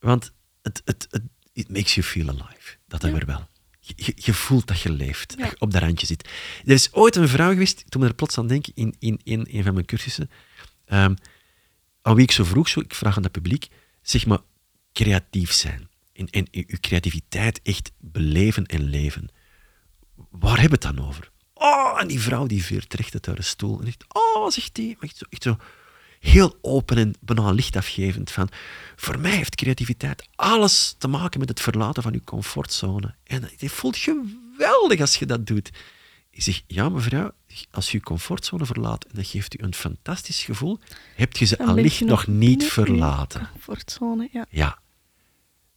Speaker 1: want het, het, het it makes you feel alive. Dat hebben we wel. Je, je- je voelt dat je leeft,
Speaker 2: Ja.
Speaker 1: dat je op dat randje zit. Er is ooit een vrouw geweest, toen we er plots aan denken, in, in, in een van mijn cursussen, ehm, aan wie ik zo vroeg, zo, ik vraag aan het publiek, zeg maar, creatief zijn. En, en je je creativiteit echt beleven en leven. Waar hebben we het dan over? Oh, en die vrouw die veert terecht uit haar stoel. En echt, oh, zegt die. Maar Echt zo, echt zo heel open en bijna lichtafgevend. Van, voor mij heeft creativiteit alles te maken met het verlaten van je comfortzone. En het voelt geweldig als je dat doet. Ik zeg, ja mevrouw, als je je comfortzone verlaat en dat geeft u een fantastisch gevoel, heb je ze
Speaker 2: Dan ben
Speaker 1: allicht
Speaker 2: je
Speaker 1: nog niet
Speaker 2: binnen in je
Speaker 1: verlaten.
Speaker 2: Comfortzone, ja.
Speaker 1: Ja.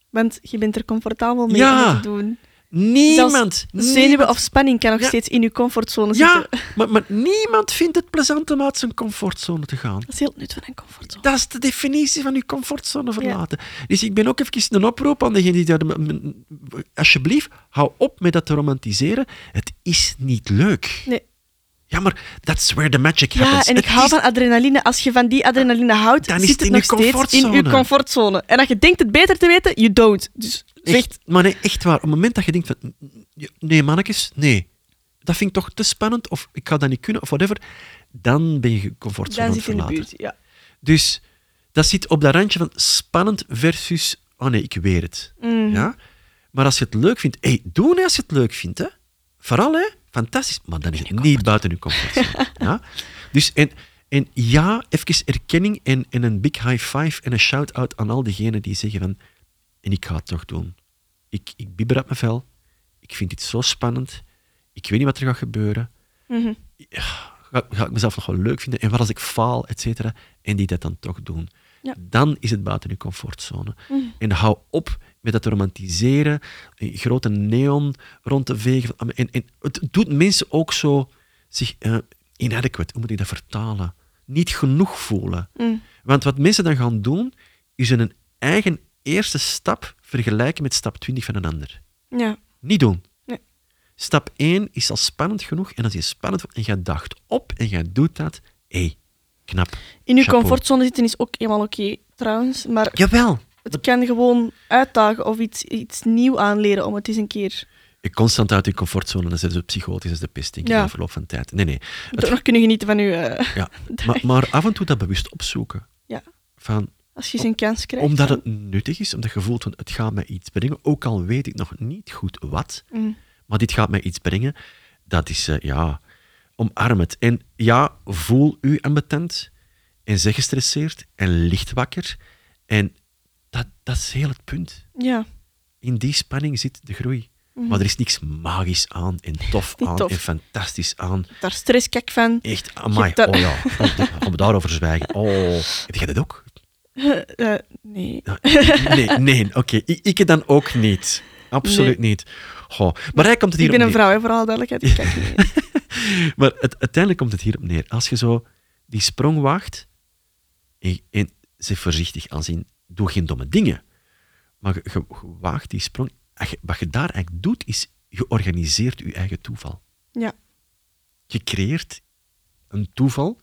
Speaker 2: Want je bent er comfortabel mee
Speaker 1: Ja.
Speaker 2: om het te doen.
Speaker 1: Niemand,
Speaker 2: Zelfs zenuwen
Speaker 1: niemand-
Speaker 2: of spanning kan nog
Speaker 1: Ja.
Speaker 2: steeds in je comfortzone [laughs]
Speaker 1: Ja,
Speaker 2: zitten.
Speaker 1: maar, maar niemand vindt het plezant om uit zijn comfortzone te gaan.
Speaker 2: Dat is heel nut van een comfortzone.
Speaker 1: Dat is de definitie van je comfortzone verlaten. Dus ik ben ook even een oproep aan degene die daar... m- m- Alsjeblieft, hou op met dat te romantiseren. Het is niet leuk.
Speaker 2: Nee.
Speaker 1: Ja, maar that's where the magic
Speaker 2: Ja,
Speaker 1: happens.
Speaker 2: en ik
Speaker 1: Het
Speaker 2: hou
Speaker 1: is-
Speaker 2: van adrenaline. Als je van die adrenaline houdt,
Speaker 1: Dan is
Speaker 2: zit
Speaker 1: het
Speaker 2: het
Speaker 1: in
Speaker 2: nog
Speaker 1: je
Speaker 2: steeds in je
Speaker 1: comfortzone.
Speaker 2: comfortzone. En als je denkt het beter te weten, you don't. Dus echt,
Speaker 1: Echt, maar nee, echt waar. Op het moment dat je denkt van... mm, Nee, mannetjes, nee. Dat vind ik toch te spannend, of ik ga dat niet kunnen, of whatever. Dan ben je je comfortzone
Speaker 2: dan
Speaker 1: aan
Speaker 2: zit
Speaker 1: het
Speaker 2: je in de
Speaker 1: verlaten.
Speaker 2: buurt. Ja.
Speaker 1: Dus dat zit op dat randje van spannend versus. Oh nee, ik weet het. Ja? Maar als je het leuk vindt, hey, doe het als je het leuk vindt. Hè? Vooral, hè? fantastisch. Maar dan is het niet buiten je comfortzone. ja? Dus en, en ja, even erkenning en, en een big high five en een shout-out aan al diegenen die zeggen van. En ik ga het toch doen. Ik, ik bibber uit mijn vel. Ik vind dit zo spannend. Ik weet niet wat er gaat gebeuren ga, ga ik mezelf nog wel leuk vinden? En wat als ik faal, et cetera? En die dat dan toch doen.
Speaker 2: Ja.
Speaker 1: Dan is het buiten je comfortzone. En hou op met dat romantiseren, eh, grote neon rond te vegen. En, en het doet mensen ook zo zich eh inadequate, hoe moet ik dat vertalen? Niet genoeg voelen. Want wat mensen dan gaan doen, je zijn eigen eerste stap vergelijken met stap 20 van een ander.
Speaker 2: Ja.
Speaker 1: Niet doen.
Speaker 2: Nee.
Speaker 1: Stap 1 is al spannend genoeg. En als je spannend wordt en je dacht op en je doet dat, hé, knap.
Speaker 2: In uw
Speaker 1: Chapeau.
Speaker 2: comfortzone zitten is ook eenmaal oké, trouwens. Maar
Speaker 1: Jawel.
Speaker 2: het kan gewoon uitdagen of iets, iets nieuw aanleren om het eens een keer
Speaker 1: Ik constant uit je comfortzone, dan zijn ze psychotisch als de pest, denk ik,
Speaker 2: Ja.
Speaker 1: na verloop van tijd. Nee, nee. Het-
Speaker 2: toch nog kunnen genieten van uw...
Speaker 1: [laughs]
Speaker 2: eh,
Speaker 1: ja. maar, maar af en toe dat bewust opzoeken.
Speaker 2: Ja.
Speaker 1: Van,
Speaker 2: als je eens een kans krijgt.
Speaker 1: omdat het nuttig is, omdat je voelt van het gaat mij iets brengen, ook al weet ik nog niet goed wat,
Speaker 2: Mm.
Speaker 1: maar dit gaat mij iets brengen, dat is, eh, ja, omarm het. En ja, voel u ambetant en zeg gestresseerd en licht wakker. En dat, dat is heel het punt.
Speaker 2: Ja.
Speaker 1: In die spanning zit de groei. Maar er is niks magisch aan en tof
Speaker 2: Mhm. [laughs] Niet
Speaker 1: aan
Speaker 2: tof.
Speaker 1: en fantastisch aan.
Speaker 2: daar stresskek van.
Speaker 1: Echt, amai,
Speaker 2: hebt dat-
Speaker 1: oh ja, oh, daar gaan we daarover zwijgen. Oh, heb jij dat ook?
Speaker 2: Eh, nee.
Speaker 1: Ja, Nee, nee, oké, ik, ik het dan ook niet. Absoluut niet. Goh. Maar hij komt het
Speaker 2: Ik
Speaker 1: hier
Speaker 2: ben
Speaker 1: op
Speaker 2: een
Speaker 1: neer.
Speaker 2: vrouw, hè, voor alle
Speaker 1: [laughs]
Speaker 2: duidelijkheid. Ik kijk niet.
Speaker 1: Maar het, uiteindelijk komt het hierop neer. Als je zo die sprong waagt, en, en zeg voorzichtig aanzien, doe geen domme dingen. Maar je, je- je waagt die sprong. En je- Wat je daar eigenlijk doet, is je organiseert je eigen toeval.
Speaker 2: Ja.
Speaker 1: Je creëert een toeval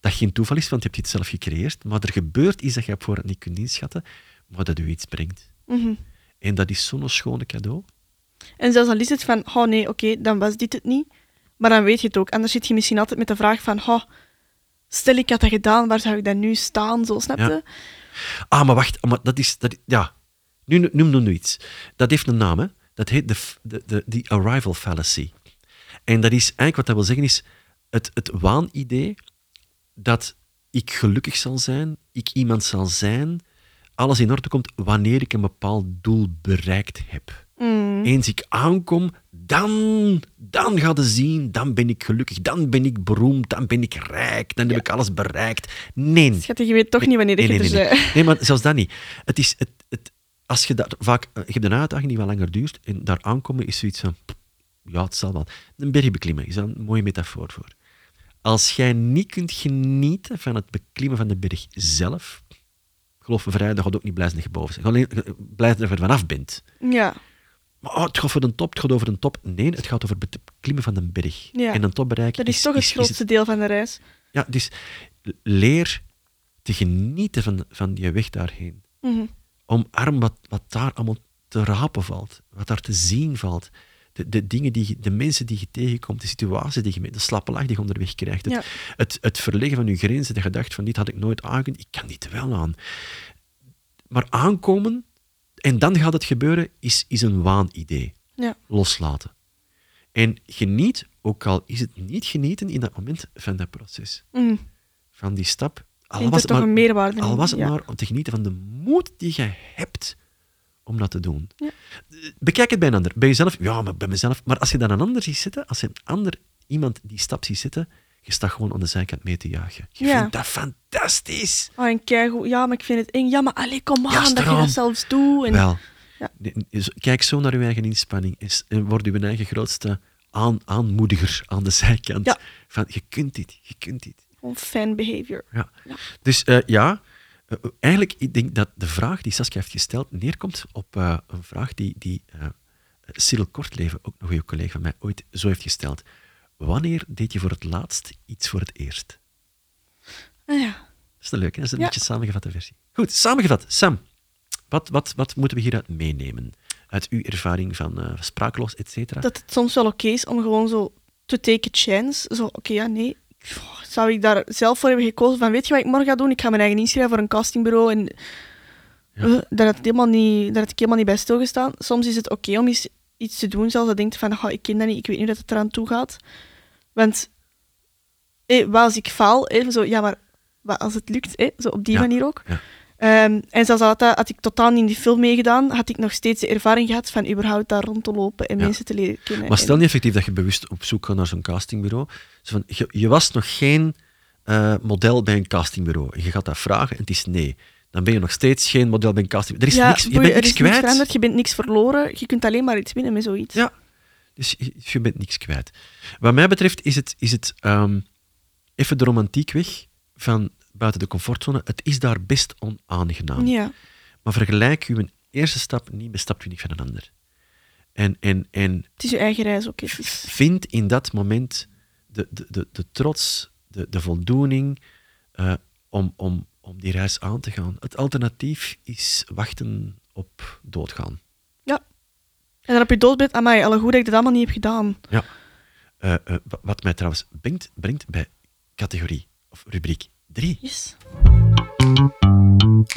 Speaker 1: dat geen toeval is, want je hebt het zelf gecreëerd. Maar er gebeurt iets dat je op voorhand niet kunt inschatten, maar dat u iets brengt.
Speaker 2: Mhm.
Speaker 1: En dat is zo'n schone cadeau.
Speaker 2: En zelfs al is het van, oh nee, oké, dan was dit het niet. Maar dan weet je het ook. Anders zit je misschien altijd met de vraag van, oh, stel ik had dat gedaan, waar zou ik dan nu staan? Zo, snap je?
Speaker 1: Ah, maar wacht, maar dat is. Dat, ja, nu nu- noem nu, nu iets. Dat heeft een naam, hè? Dat heet de, f- de, de, die arrival fallacy. En dat is eigenlijk wat dat wil zeggen, is het, het waanidee dat ik gelukkig zal zijn, ik iemand zal zijn, alles in orde komt wanneer ik een bepaald doel bereikt heb. Eens ik aankom, dan, dan gaat het zien, dan ben ik gelukkig, dan ben ik beroemd, dan ben ik rijk, dan heb ik alles bereikt. Nee.
Speaker 2: Schat, je weet toch niet wanneer dus, je
Speaker 1: Nee,
Speaker 2: er
Speaker 1: nee, nee,
Speaker 2: bent.
Speaker 1: nee. Nee, maar zelfs dat niet. Het is, het, het, als je daar vaak, eh, je hebt een uitdaging die wel langer duurt, en daar aankomen is zoiets van, pff, ja, het zal wel. Een berg beklimmen is daar een mooie metafoor voor. Als jij niet kunt genieten van het beklimmen van de berg zelf, geloof me vrij, dan gaat ook niet blij zijn dat je boven bent. Je gaat alleen, eh, blij zijn dat je er vanaf bent.
Speaker 2: eh, [laughs] Ja,
Speaker 1: Maar oh, het gaat voor de top, het gaat over de top. Nee, het gaat over het beklimmen van de berg.
Speaker 2: Ja.
Speaker 1: En een top bereiken
Speaker 2: dat is, toch het grootste deel van de reis.
Speaker 1: ja, dus leer te genieten van, van je weg daarheen.
Speaker 2: Mhm.
Speaker 1: Omarm wat, wat daar allemaal te rapen valt, wat daar te zien valt. De, de dingen die je- de mensen die je tegenkomt, de situatie die je met de slappe lach die je onderweg krijgt. Het,
Speaker 2: Ja.
Speaker 1: het, het verleggen van je grenzen, de gedachte van dit had ik nooit aangekund, ik kan dit wel aan. Maar aankomen en dan gaat het gebeuren, is, is een waanidee.
Speaker 2: Ja.
Speaker 1: Loslaten. En geniet, ook al is het niet genieten in dat moment van dat proces
Speaker 2: Mhm.
Speaker 1: van die stap. Al
Speaker 2: Vindt
Speaker 1: was het,
Speaker 2: er toch
Speaker 1: maar,
Speaker 2: een meerwaarde
Speaker 1: al
Speaker 2: in,
Speaker 1: was het
Speaker 2: ja.
Speaker 1: maar om te genieten van de moed die je hebt om dat te doen.
Speaker 2: Ja.
Speaker 1: Bekijk het bij een ander. Bij jezelf, ja, maar bij mezelf. Maar als je dan een ander ziet zitten, als je een ander, iemand die stap ziet zitten, je staat gewoon aan de zijkant mee te jagen. Je
Speaker 2: Ja.
Speaker 1: vindt dat fantastisch.
Speaker 2: Oh, en keigoed. Ja, maar ik vind het eng. Ja, maar allee, kom aan,
Speaker 1: Ja,
Speaker 2: dat je
Speaker 1: daarom.
Speaker 2: dat zelfs doet. En...
Speaker 1: Wel,
Speaker 2: Ja.
Speaker 1: Nee, nee, zo- kijk zo naar uw eigen inspanning en s- en word uw eigen grootste aan, aanmoediger aan de zijkant.
Speaker 2: Ja.
Speaker 1: Van, je kunt dit, je kunt dit.
Speaker 2: Gewoon fan behavior.
Speaker 1: Ja. Dus eh, ja, eh, eigenlijk ik denk dat de vraag die Saskia heeft gesteld neerkomt op eh, een vraag die, die eh Cyril Kortleven, ook nog een collega van mij, ooit zo heeft gesteld. Wanneer deed je voor het laatst iets voor het eerst?
Speaker 2: Ah, ja.
Speaker 1: Dat is een leuke, dat is een
Speaker 2: Ja.
Speaker 1: beetje samengevatte versie. Goed, samengevat. Sam, wat, wat, wat moeten we hieruit meenemen? Uit uw ervaring van eh, sprakeloos, et cetera?
Speaker 2: Dat het soms wel oké is om gewoon zo to take a chance. Zo, oké, ja, nee. Pff, Zou ik daar zelf voor hebben gekozen van, weet je wat ik morgen ga doen? Ik ga mijn eigen inschrijven voor een castingbureau en Eh, daar, had ik helemaal niet, daar had ik helemaal niet bij stilgestaan. Soms is het oké om eens iets te doen, zelfs dat denkt van, "Ah, ik ken dat niet, ik weet niet hoe dat het eraan toe gaat. Want eh, wat als ik faal, eh, zo, ja, maar wat als het lukt, eh, zo op die
Speaker 1: Ja,
Speaker 2: manier ook.
Speaker 1: ja.
Speaker 2: Ehm, en zelfs al had, dat- had ik totaal niet in die film meegedaan, had ik nog steeds de ervaring gehad van überhaupt daar rond te lopen en
Speaker 1: Ja.
Speaker 2: mensen te leren kennen.
Speaker 1: Maar stel
Speaker 2: En-
Speaker 1: niet effectief dat je bewust op zoek gaat naar zo'n castingbureau. Zo van, je, je was nog geen eh, model bij een castingbureau. En je gaat dat vragen en het is nee. Dan ben je nog steeds geen model bij een castingbureau. Er is
Speaker 2: ja,
Speaker 1: niks, je
Speaker 2: boeien,
Speaker 1: bent
Speaker 2: er
Speaker 1: niks
Speaker 2: is niks
Speaker 1: kwijt.
Speaker 2: veranderd, je bent niks verloren, je kunt alleen maar iets winnen met zoiets.
Speaker 1: ja. Dus je, je bent niks kwijt. Wat mij betreft is het, is het ehm, even de romantiek weg van buiten de comfortzone. Het is daar best onaangenaam.
Speaker 2: Ja.
Speaker 1: Maar vergelijk uw eerste stap niet met stap 20 van een ander. En, en, en
Speaker 2: Het is je eigen reis ook. hè. Het is-
Speaker 1: vind in dat moment de, de, de, de trots, de, de voldoening eh, om, om, om die reis aan te gaan. Het alternatief is wachten op doodgaan.
Speaker 2: En dan op je doodbed, amai, alle goed dat ik dat allemaal niet heb gedaan.
Speaker 1: Eh, eh, wa- wat mij trouwens brengt, brengt bij categorie of rubriek 3.
Speaker 2: Yes.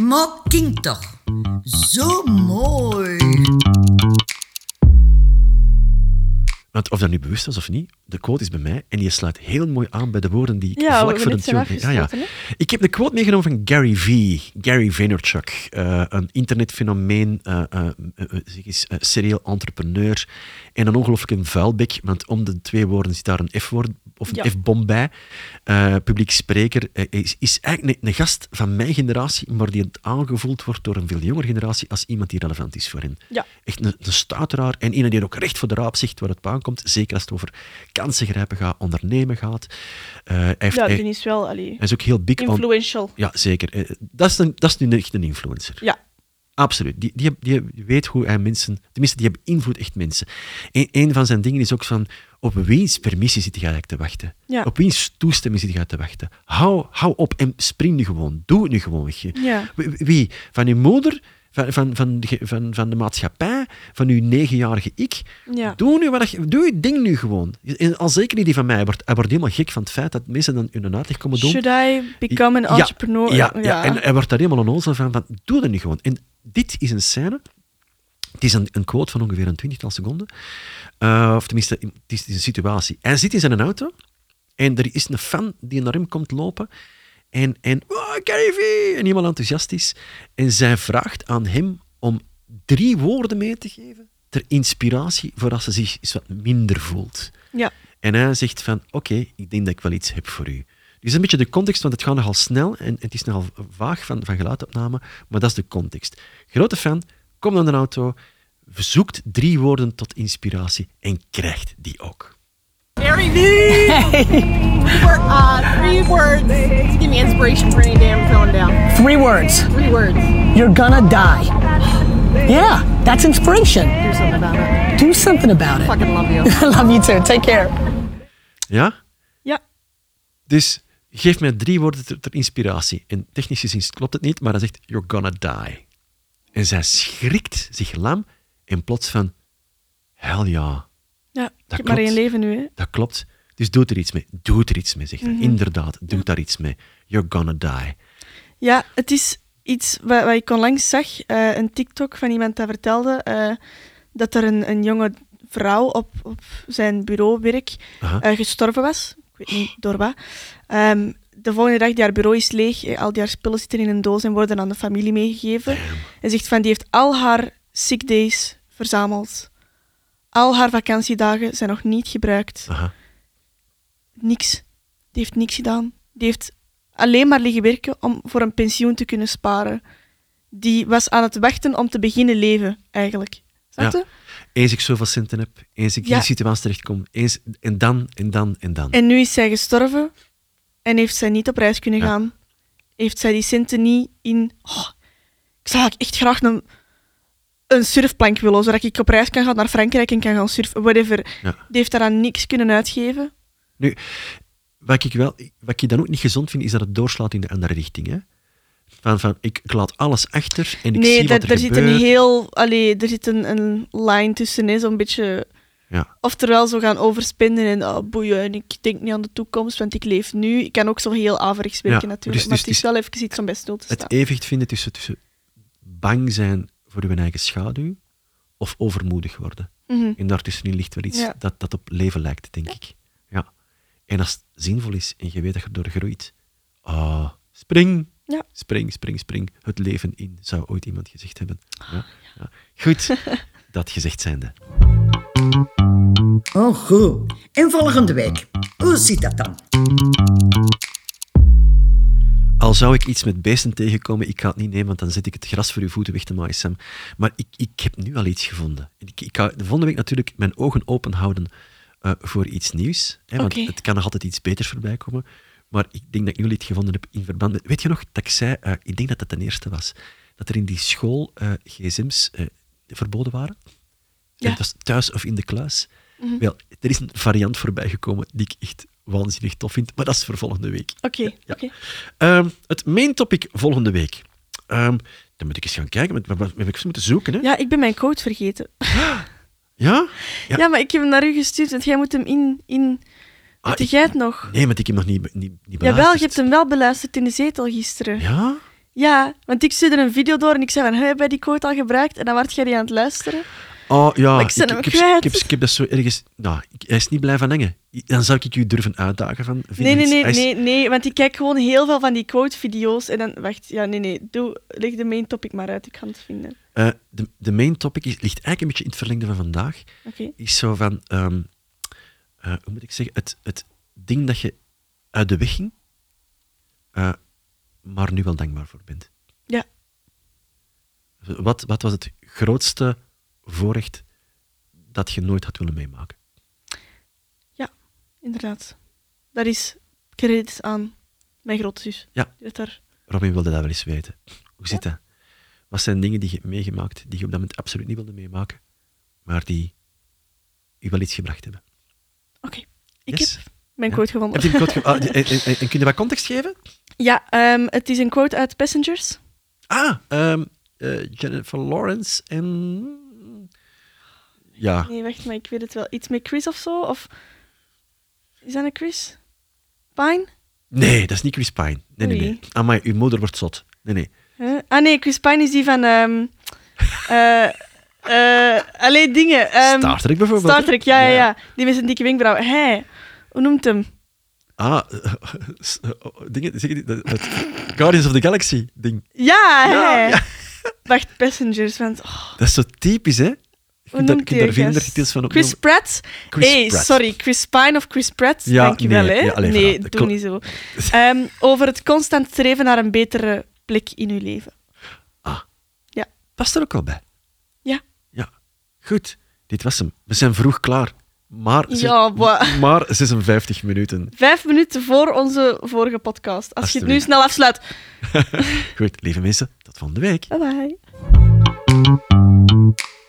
Speaker 3: Mocking toch. Zo mooi.
Speaker 1: Want of dat nu bewust was of niet, de quote is bij mij en die sluit heel mooi aan bij de woorden die ik
Speaker 2: Ja, we
Speaker 1: vlak voor
Speaker 2: hebben
Speaker 1: een
Speaker 2: het zijn
Speaker 1: tune...
Speaker 2: afgesloten. hè.
Speaker 1: Ah, Ik heb de quote meegenomen van Gary V. Gary Vaynerchuk, eh, een internetfenomeen, eh, eh, eh, zeg eens, eh, serieel entrepreneur en een ongelooflijke vuilbek, want om de twee woorden zit daar een F-woord of een
Speaker 2: Ja.
Speaker 1: F-bom bij. Eh, publiek spreker eh, is, is eigenlijk een, een gast van mijn generatie, maar die aangevoeld wordt door een veel jongere generatie als iemand die relevant is voor hen.
Speaker 2: Ja.
Speaker 1: Echt een, een stuiteraar en iemand die ook recht voor de raap zegt waar het op aankomt, zeker als het over kansen grijpen gaat, ondernemen gaat. Eh, hij heeft,
Speaker 2: Ja,
Speaker 1: hij-
Speaker 2: die is wel allee,
Speaker 1: hij is ook heel big on...
Speaker 2: influential.
Speaker 1: Ja, zeker. Eh, Dat is, een, dat is nu echt een influencer.
Speaker 2: Ja.
Speaker 1: Absoluut. Die, die, heb- die weet hoe hij mensen... Tenminste, die beïnvloedt echt mensen. Eén een van zijn dingen is ook van... Op wiens permissie zit hij eigenlijk te wachten?
Speaker 2: Ja.
Speaker 1: Op wiens toestemming zit hij te wachten? Hou, hou op en spring nu gewoon. Doe het nu gewoon. weet je.
Speaker 2: Ja.
Speaker 1: Wie- Wie? Van uw moeder? Van, van, van, de, ge- van, van de maatschappij? Van uw negenjarige ik?
Speaker 2: Ja.
Speaker 1: Doe nu wat je... Doe je ding nu gewoon. En al zeker niet die van mij. Hij wordt, hij wordt helemaal gek van het feit dat mensen dan hun uitleg komen doen.
Speaker 2: Should I become an
Speaker 1: Ja,
Speaker 2: entrepreneur?
Speaker 1: Ja, ja. en hij wordt daar helemaal onnozel van, van, doe dat nu gewoon. En dit is een scène, het is een, een quote van ongeveer een twintigtal seconden, Eh, of tenminste, het is, het is een situatie. Hij zit in zijn auto en er is een fan die naar hem komt lopen en, en oh, Gary Vee! en helemaal enthousiast is. En zij vraagt aan hem om drie woorden mee te geven ter inspiratie voor als ze zich eens wat minder voelt.
Speaker 2: ja.
Speaker 1: En hij zegt van, oké, ik denk dat ik wel iets heb voor u. Dus een beetje de context, want het gaat nogal snel en het is nogal vaag van, van geluidopname, maar dat is de context. Grote fan, komt aan de auto, zoekt drie woorden tot inspiratie en krijgt die ook.
Speaker 4: Gary Vee.
Speaker 5: [laughs]
Speaker 4: uh, three words. Just give me inspiration for any day I'm feeling down.
Speaker 5: Three words.
Speaker 4: Three words.
Speaker 5: You're gonna die. Yeah, that's inspiration.
Speaker 4: Do something about it.
Speaker 5: Do something about it.
Speaker 4: Fucking love you.
Speaker 5: I love you too. Take care.
Speaker 1: Ja?
Speaker 2: Ja.
Speaker 1: Dus geef mij drie woorden ter, ter inspiratie. En technisch gezien klopt het niet, maar hij zegt, you're gonna die. En zij schrikt zich lam en plots van, hell ja.
Speaker 2: ja. Ik heb
Speaker 1: klopt.
Speaker 2: maar één leven nu, hè.
Speaker 1: Dat klopt. Dus doe er iets mee. Doe er iets mee, zegt hij.
Speaker 2: Mhm.
Speaker 1: Inderdaad, doe daar iets mee. You're gonna die.
Speaker 2: Ja, het is iets wat, wat ik onlangs zag, eh, een TikTok van iemand dat vertelde, eh, dat er een, een jonge vrouw op, op zijn bureauwerk
Speaker 1: Aha.
Speaker 2: eh, gestorven was. Ik weet niet door wat. Ehm, de volgende dag, die haar bureau is leeg, eh, al die haar spullen zitten in een doos en worden aan de familie meegegeven. En zegt van, die heeft al haar sick days verzameld. Al haar vakantiedagen zijn nog niet gebruikt
Speaker 1: Aha.
Speaker 2: niks. Die heeft niks gedaan. Die heeft alleen maar liggen werken om voor een pensioen te kunnen sparen. Die was aan het wachten om te beginnen leven, eigenlijk. Snap
Speaker 1: Ja.
Speaker 2: je?
Speaker 1: Eens ik zoveel centen heb, eens ik in
Speaker 2: Ja.
Speaker 1: die situatie terechtkom, eens, en dan, en dan, en dan.
Speaker 2: En nu is zij gestorven en heeft zij niet op reis kunnen
Speaker 1: Ja.
Speaker 2: gaan. Heeft zij die centen niet in... Oh, ik zou eigenlijk echt graag een, een surfplank willen, zodat ik op reis kan gaan naar Frankrijk en kan gaan surfen, whatever.
Speaker 1: Ja.
Speaker 2: Die heeft daaraan niks kunnen uitgeven.
Speaker 1: Nu, wat ik, wel, wat ik dan ook niet gezond vind, is dat het doorslaat in de andere richting. Hè? Van, van, ik, ik laat alles achter en ik
Speaker 2: nee,
Speaker 1: zie wat
Speaker 2: dat,
Speaker 1: er
Speaker 2: er zit
Speaker 1: gebeurt.
Speaker 2: een heel... Allee, er zit een, een lijn tussen, hè, zo'n beetje...
Speaker 1: Ja,
Speaker 2: Oftewel, zo gaan overspinnen en oh, boeien. En ik denk niet aan de toekomst, want ik leef nu. Ik kan ook zo heel averechts werken,
Speaker 1: Ja,
Speaker 2: natuurlijk.
Speaker 1: dus-
Speaker 2: maar
Speaker 1: dus
Speaker 2: het is wel even iets om bij stil te staan.
Speaker 1: het evenwicht vinden tussen, tussen bang zijn voor uw eigen schaduw of overmoedig worden.
Speaker 2: Mhm.
Speaker 1: En daartussenin ligt wel iets
Speaker 2: Ja.
Speaker 1: dat, dat op leven lijkt, denk ik. Ja. En als het zinvol is en je weet dat je erdoor groeit, ah, spring,
Speaker 2: Ja.
Speaker 1: spring, spring, spring, het leven in, zou ooit iemand gezegd hebben.
Speaker 2: Ah,
Speaker 1: Ja, ja.
Speaker 2: [laughs]
Speaker 1: Goed, dat gezegd zijnde.
Speaker 3: Oh, goed. En volgende week. Hoe zit dat dan?
Speaker 1: Al zou ik iets met beesten tegenkomen, ik ga het niet nemen, want dan zit ik het gras voor uw voeten weg te maaien, Sam. Maar ik, ik heb nu al iets gevonden. Ik, ik ga de volgende week natuurlijk mijn ogen open houden eh, voor iets nieuws. Hè, want
Speaker 2: Oké.
Speaker 1: het kan nog altijd iets beters voorbij komen. Maar ik denk dat ik nu een lied gevonden heb in verband met... Weet je nog dat ik zei, eh, ik denk dat dat de eerste was, dat er in die school eh, gsm's eh, verboden waren?
Speaker 2: Ja. Mhm.
Speaker 1: Het was thuis of in de kluis. Wel, er is een variant voorbij gekomen die ik echt waanzinnig tof vind, maar dat is voor volgende week.
Speaker 2: Oké,
Speaker 1: e- Ja.
Speaker 2: oké.
Speaker 1: Ehm, het main topic volgende week. Ehm, dan moet ik eens gaan kijken, want wat, wat heb ik eens moeten zoeken? Hè?
Speaker 2: Ja, ik ben mijn code vergeten.
Speaker 1: Ja? Ja.
Speaker 2: Ja. maar ik heb hem naar u gestuurd, want jij moet hem in... in...
Speaker 1: Ah,
Speaker 2: Weet
Speaker 1: ik-
Speaker 2: jij het nog?
Speaker 1: Nee, want ik heb hem nog niet, niet, niet beluisterd.
Speaker 2: Jawel, je hebt hem wel beluisterd in de zetel gisteren. Ja,
Speaker 1: Ja?
Speaker 2: want ik stuurde een video door en ik zei van, "Hey, heb jij die code al gebruikt? En dan werd jij die aan het luisteren.
Speaker 1: Oh ja,
Speaker 2: Maar ik ben hem
Speaker 1: heb,
Speaker 2: kwijt.
Speaker 1: heb, ik heb dat zo ergens. Nou, ik- hij is niet blij van hangen. Dan zou ik u durven uitdagen van. vind
Speaker 2: Nee,
Speaker 1: je
Speaker 2: nee,
Speaker 1: iets-
Speaker 2: nee,
Speaker 1: hij is-
Speaker 2: nee, nee, want ik kijk gewoon heel veel van die quote-video's en dan... Wacht, ja, nee, nee, doe, leg de main topic maar uit, ik ga het vinden.
Speaker 1: Eh, de, de main topic is, ligt eigenlijk een beetje in het verlengde van vandaag.
Speaker 2: Oké.
Speaker 1: Is zo van. ehm, eh, hoe moet ik zeggen? Het, het ding dat je uit de weg ging, eh, maar nu wel dankbaar voor bent.
Speaker 2: Ja.
Speaker 1: Wat, wat was het grootste voorrecht dat je nooit had willen meemaken?
Speaker 2: Inderdaad. Daar is credits aan mijn grootzus.
Speaker 1: Ja.
Speaker 2: Die heeft daar...
Speaker 1: Robin wilde dat wel eens weten. Hoe zit dat? Wat zijn dingen die je hebt meegemaakt die je op dat moment absoluut niet wilde meemaken, maar die je wel iets gebracht hebben?
Speaker 2: Oké, ik
Speaker 1: Yes?
Speaker 2: heb mijn
Speaker 1: Ja.
Speaker 2: quote gevonden.
Speaker 1: Heb je een quote ge- ah, en, en, en- en kun je wat context geven?
Speaker 2: Ja, ehm, het is een quote uit Passengers.
Speaker 1: Ah, ehm, eh, Jennifer Lawrence en... Ja,
Speaker 2: Nee, wacht, maar ik weet het wel. Iets met Chris of zo? Of... Is dat een Chris? Pine?
Speaker 1: nee, dat is niet Chris Pine. Nee, nee, nee.
Speaker 2: Oei.
Speaker 1: Amai, uw moeder wordt zot. Nee, nee.
Speaker 2: Huh? Ah nee, Chris Pine is die van... ehm [laughs] eh eh, allee, dingen. ehm,
Speaker 1: Star Trek bijvoorbeeld.
Speaker 2: Star Trek, ja, ja,
Speaker 1: Ja.
Speaker 2: ja. Die met zijn dikke wenkbrauw. Hé, hoe noemt hem?
Speaker 1: Ah, [laughs] s- eh, oh, dingen, zeg je die- dat, dat Guardians of the Galaxy ding.
Speaker 2: Ja, hij.
Speaker 1: ja. [laughs]
Speaker 2: Wacht, Passengers, want... oh,
Speaker 1: Dat is zo typisch, hè? Je
Speaker 2: hoe
Speaker 1: kunt daar- je
Speaker 2: noemt
Speaker 1: kunt
Speaker 2: die
Speaker 1: daar 34
Speaker 2: gast?
Speaker 1: titels van opnoemen.
Speaker 2: Chris Pratt?
Speaker 1: Chris
Speaker 2: hey,
Speaker 1: Pratt.
Speaker 2: sorry, Chris Pine of Chris Pratt?
Speaker 1: Ja,
Speaker 2: Dankjewel,
Speaker 1: nee,
Speaker 2: hè?
Speaker 1: ja, alleen
Speaker 2: nee,
Speaker 1: voilà, dat
Speaker 2: doe niet zo. Ehm, over het constant streven naar een betere plek in uw leven.
Speaker 1: Past er ook al bij.
Speaker 2: Ja.
Speaker 1: Ja. Goed, dit was hem. We zijn vroeg klaar. Maar, zes-
Speaker 2: Ja, wa-
Speaker 1: maar 56 minuten.
Speaker 2: Vijf minuten voor onze vorige podcast. Als je het nu
Speaker 1: Alsjeblieft.
Speaker 2: snel afsluit.
Speaker 1: Goed, lieve mensen, tot volgende week.
Speaker 2: Bye bye.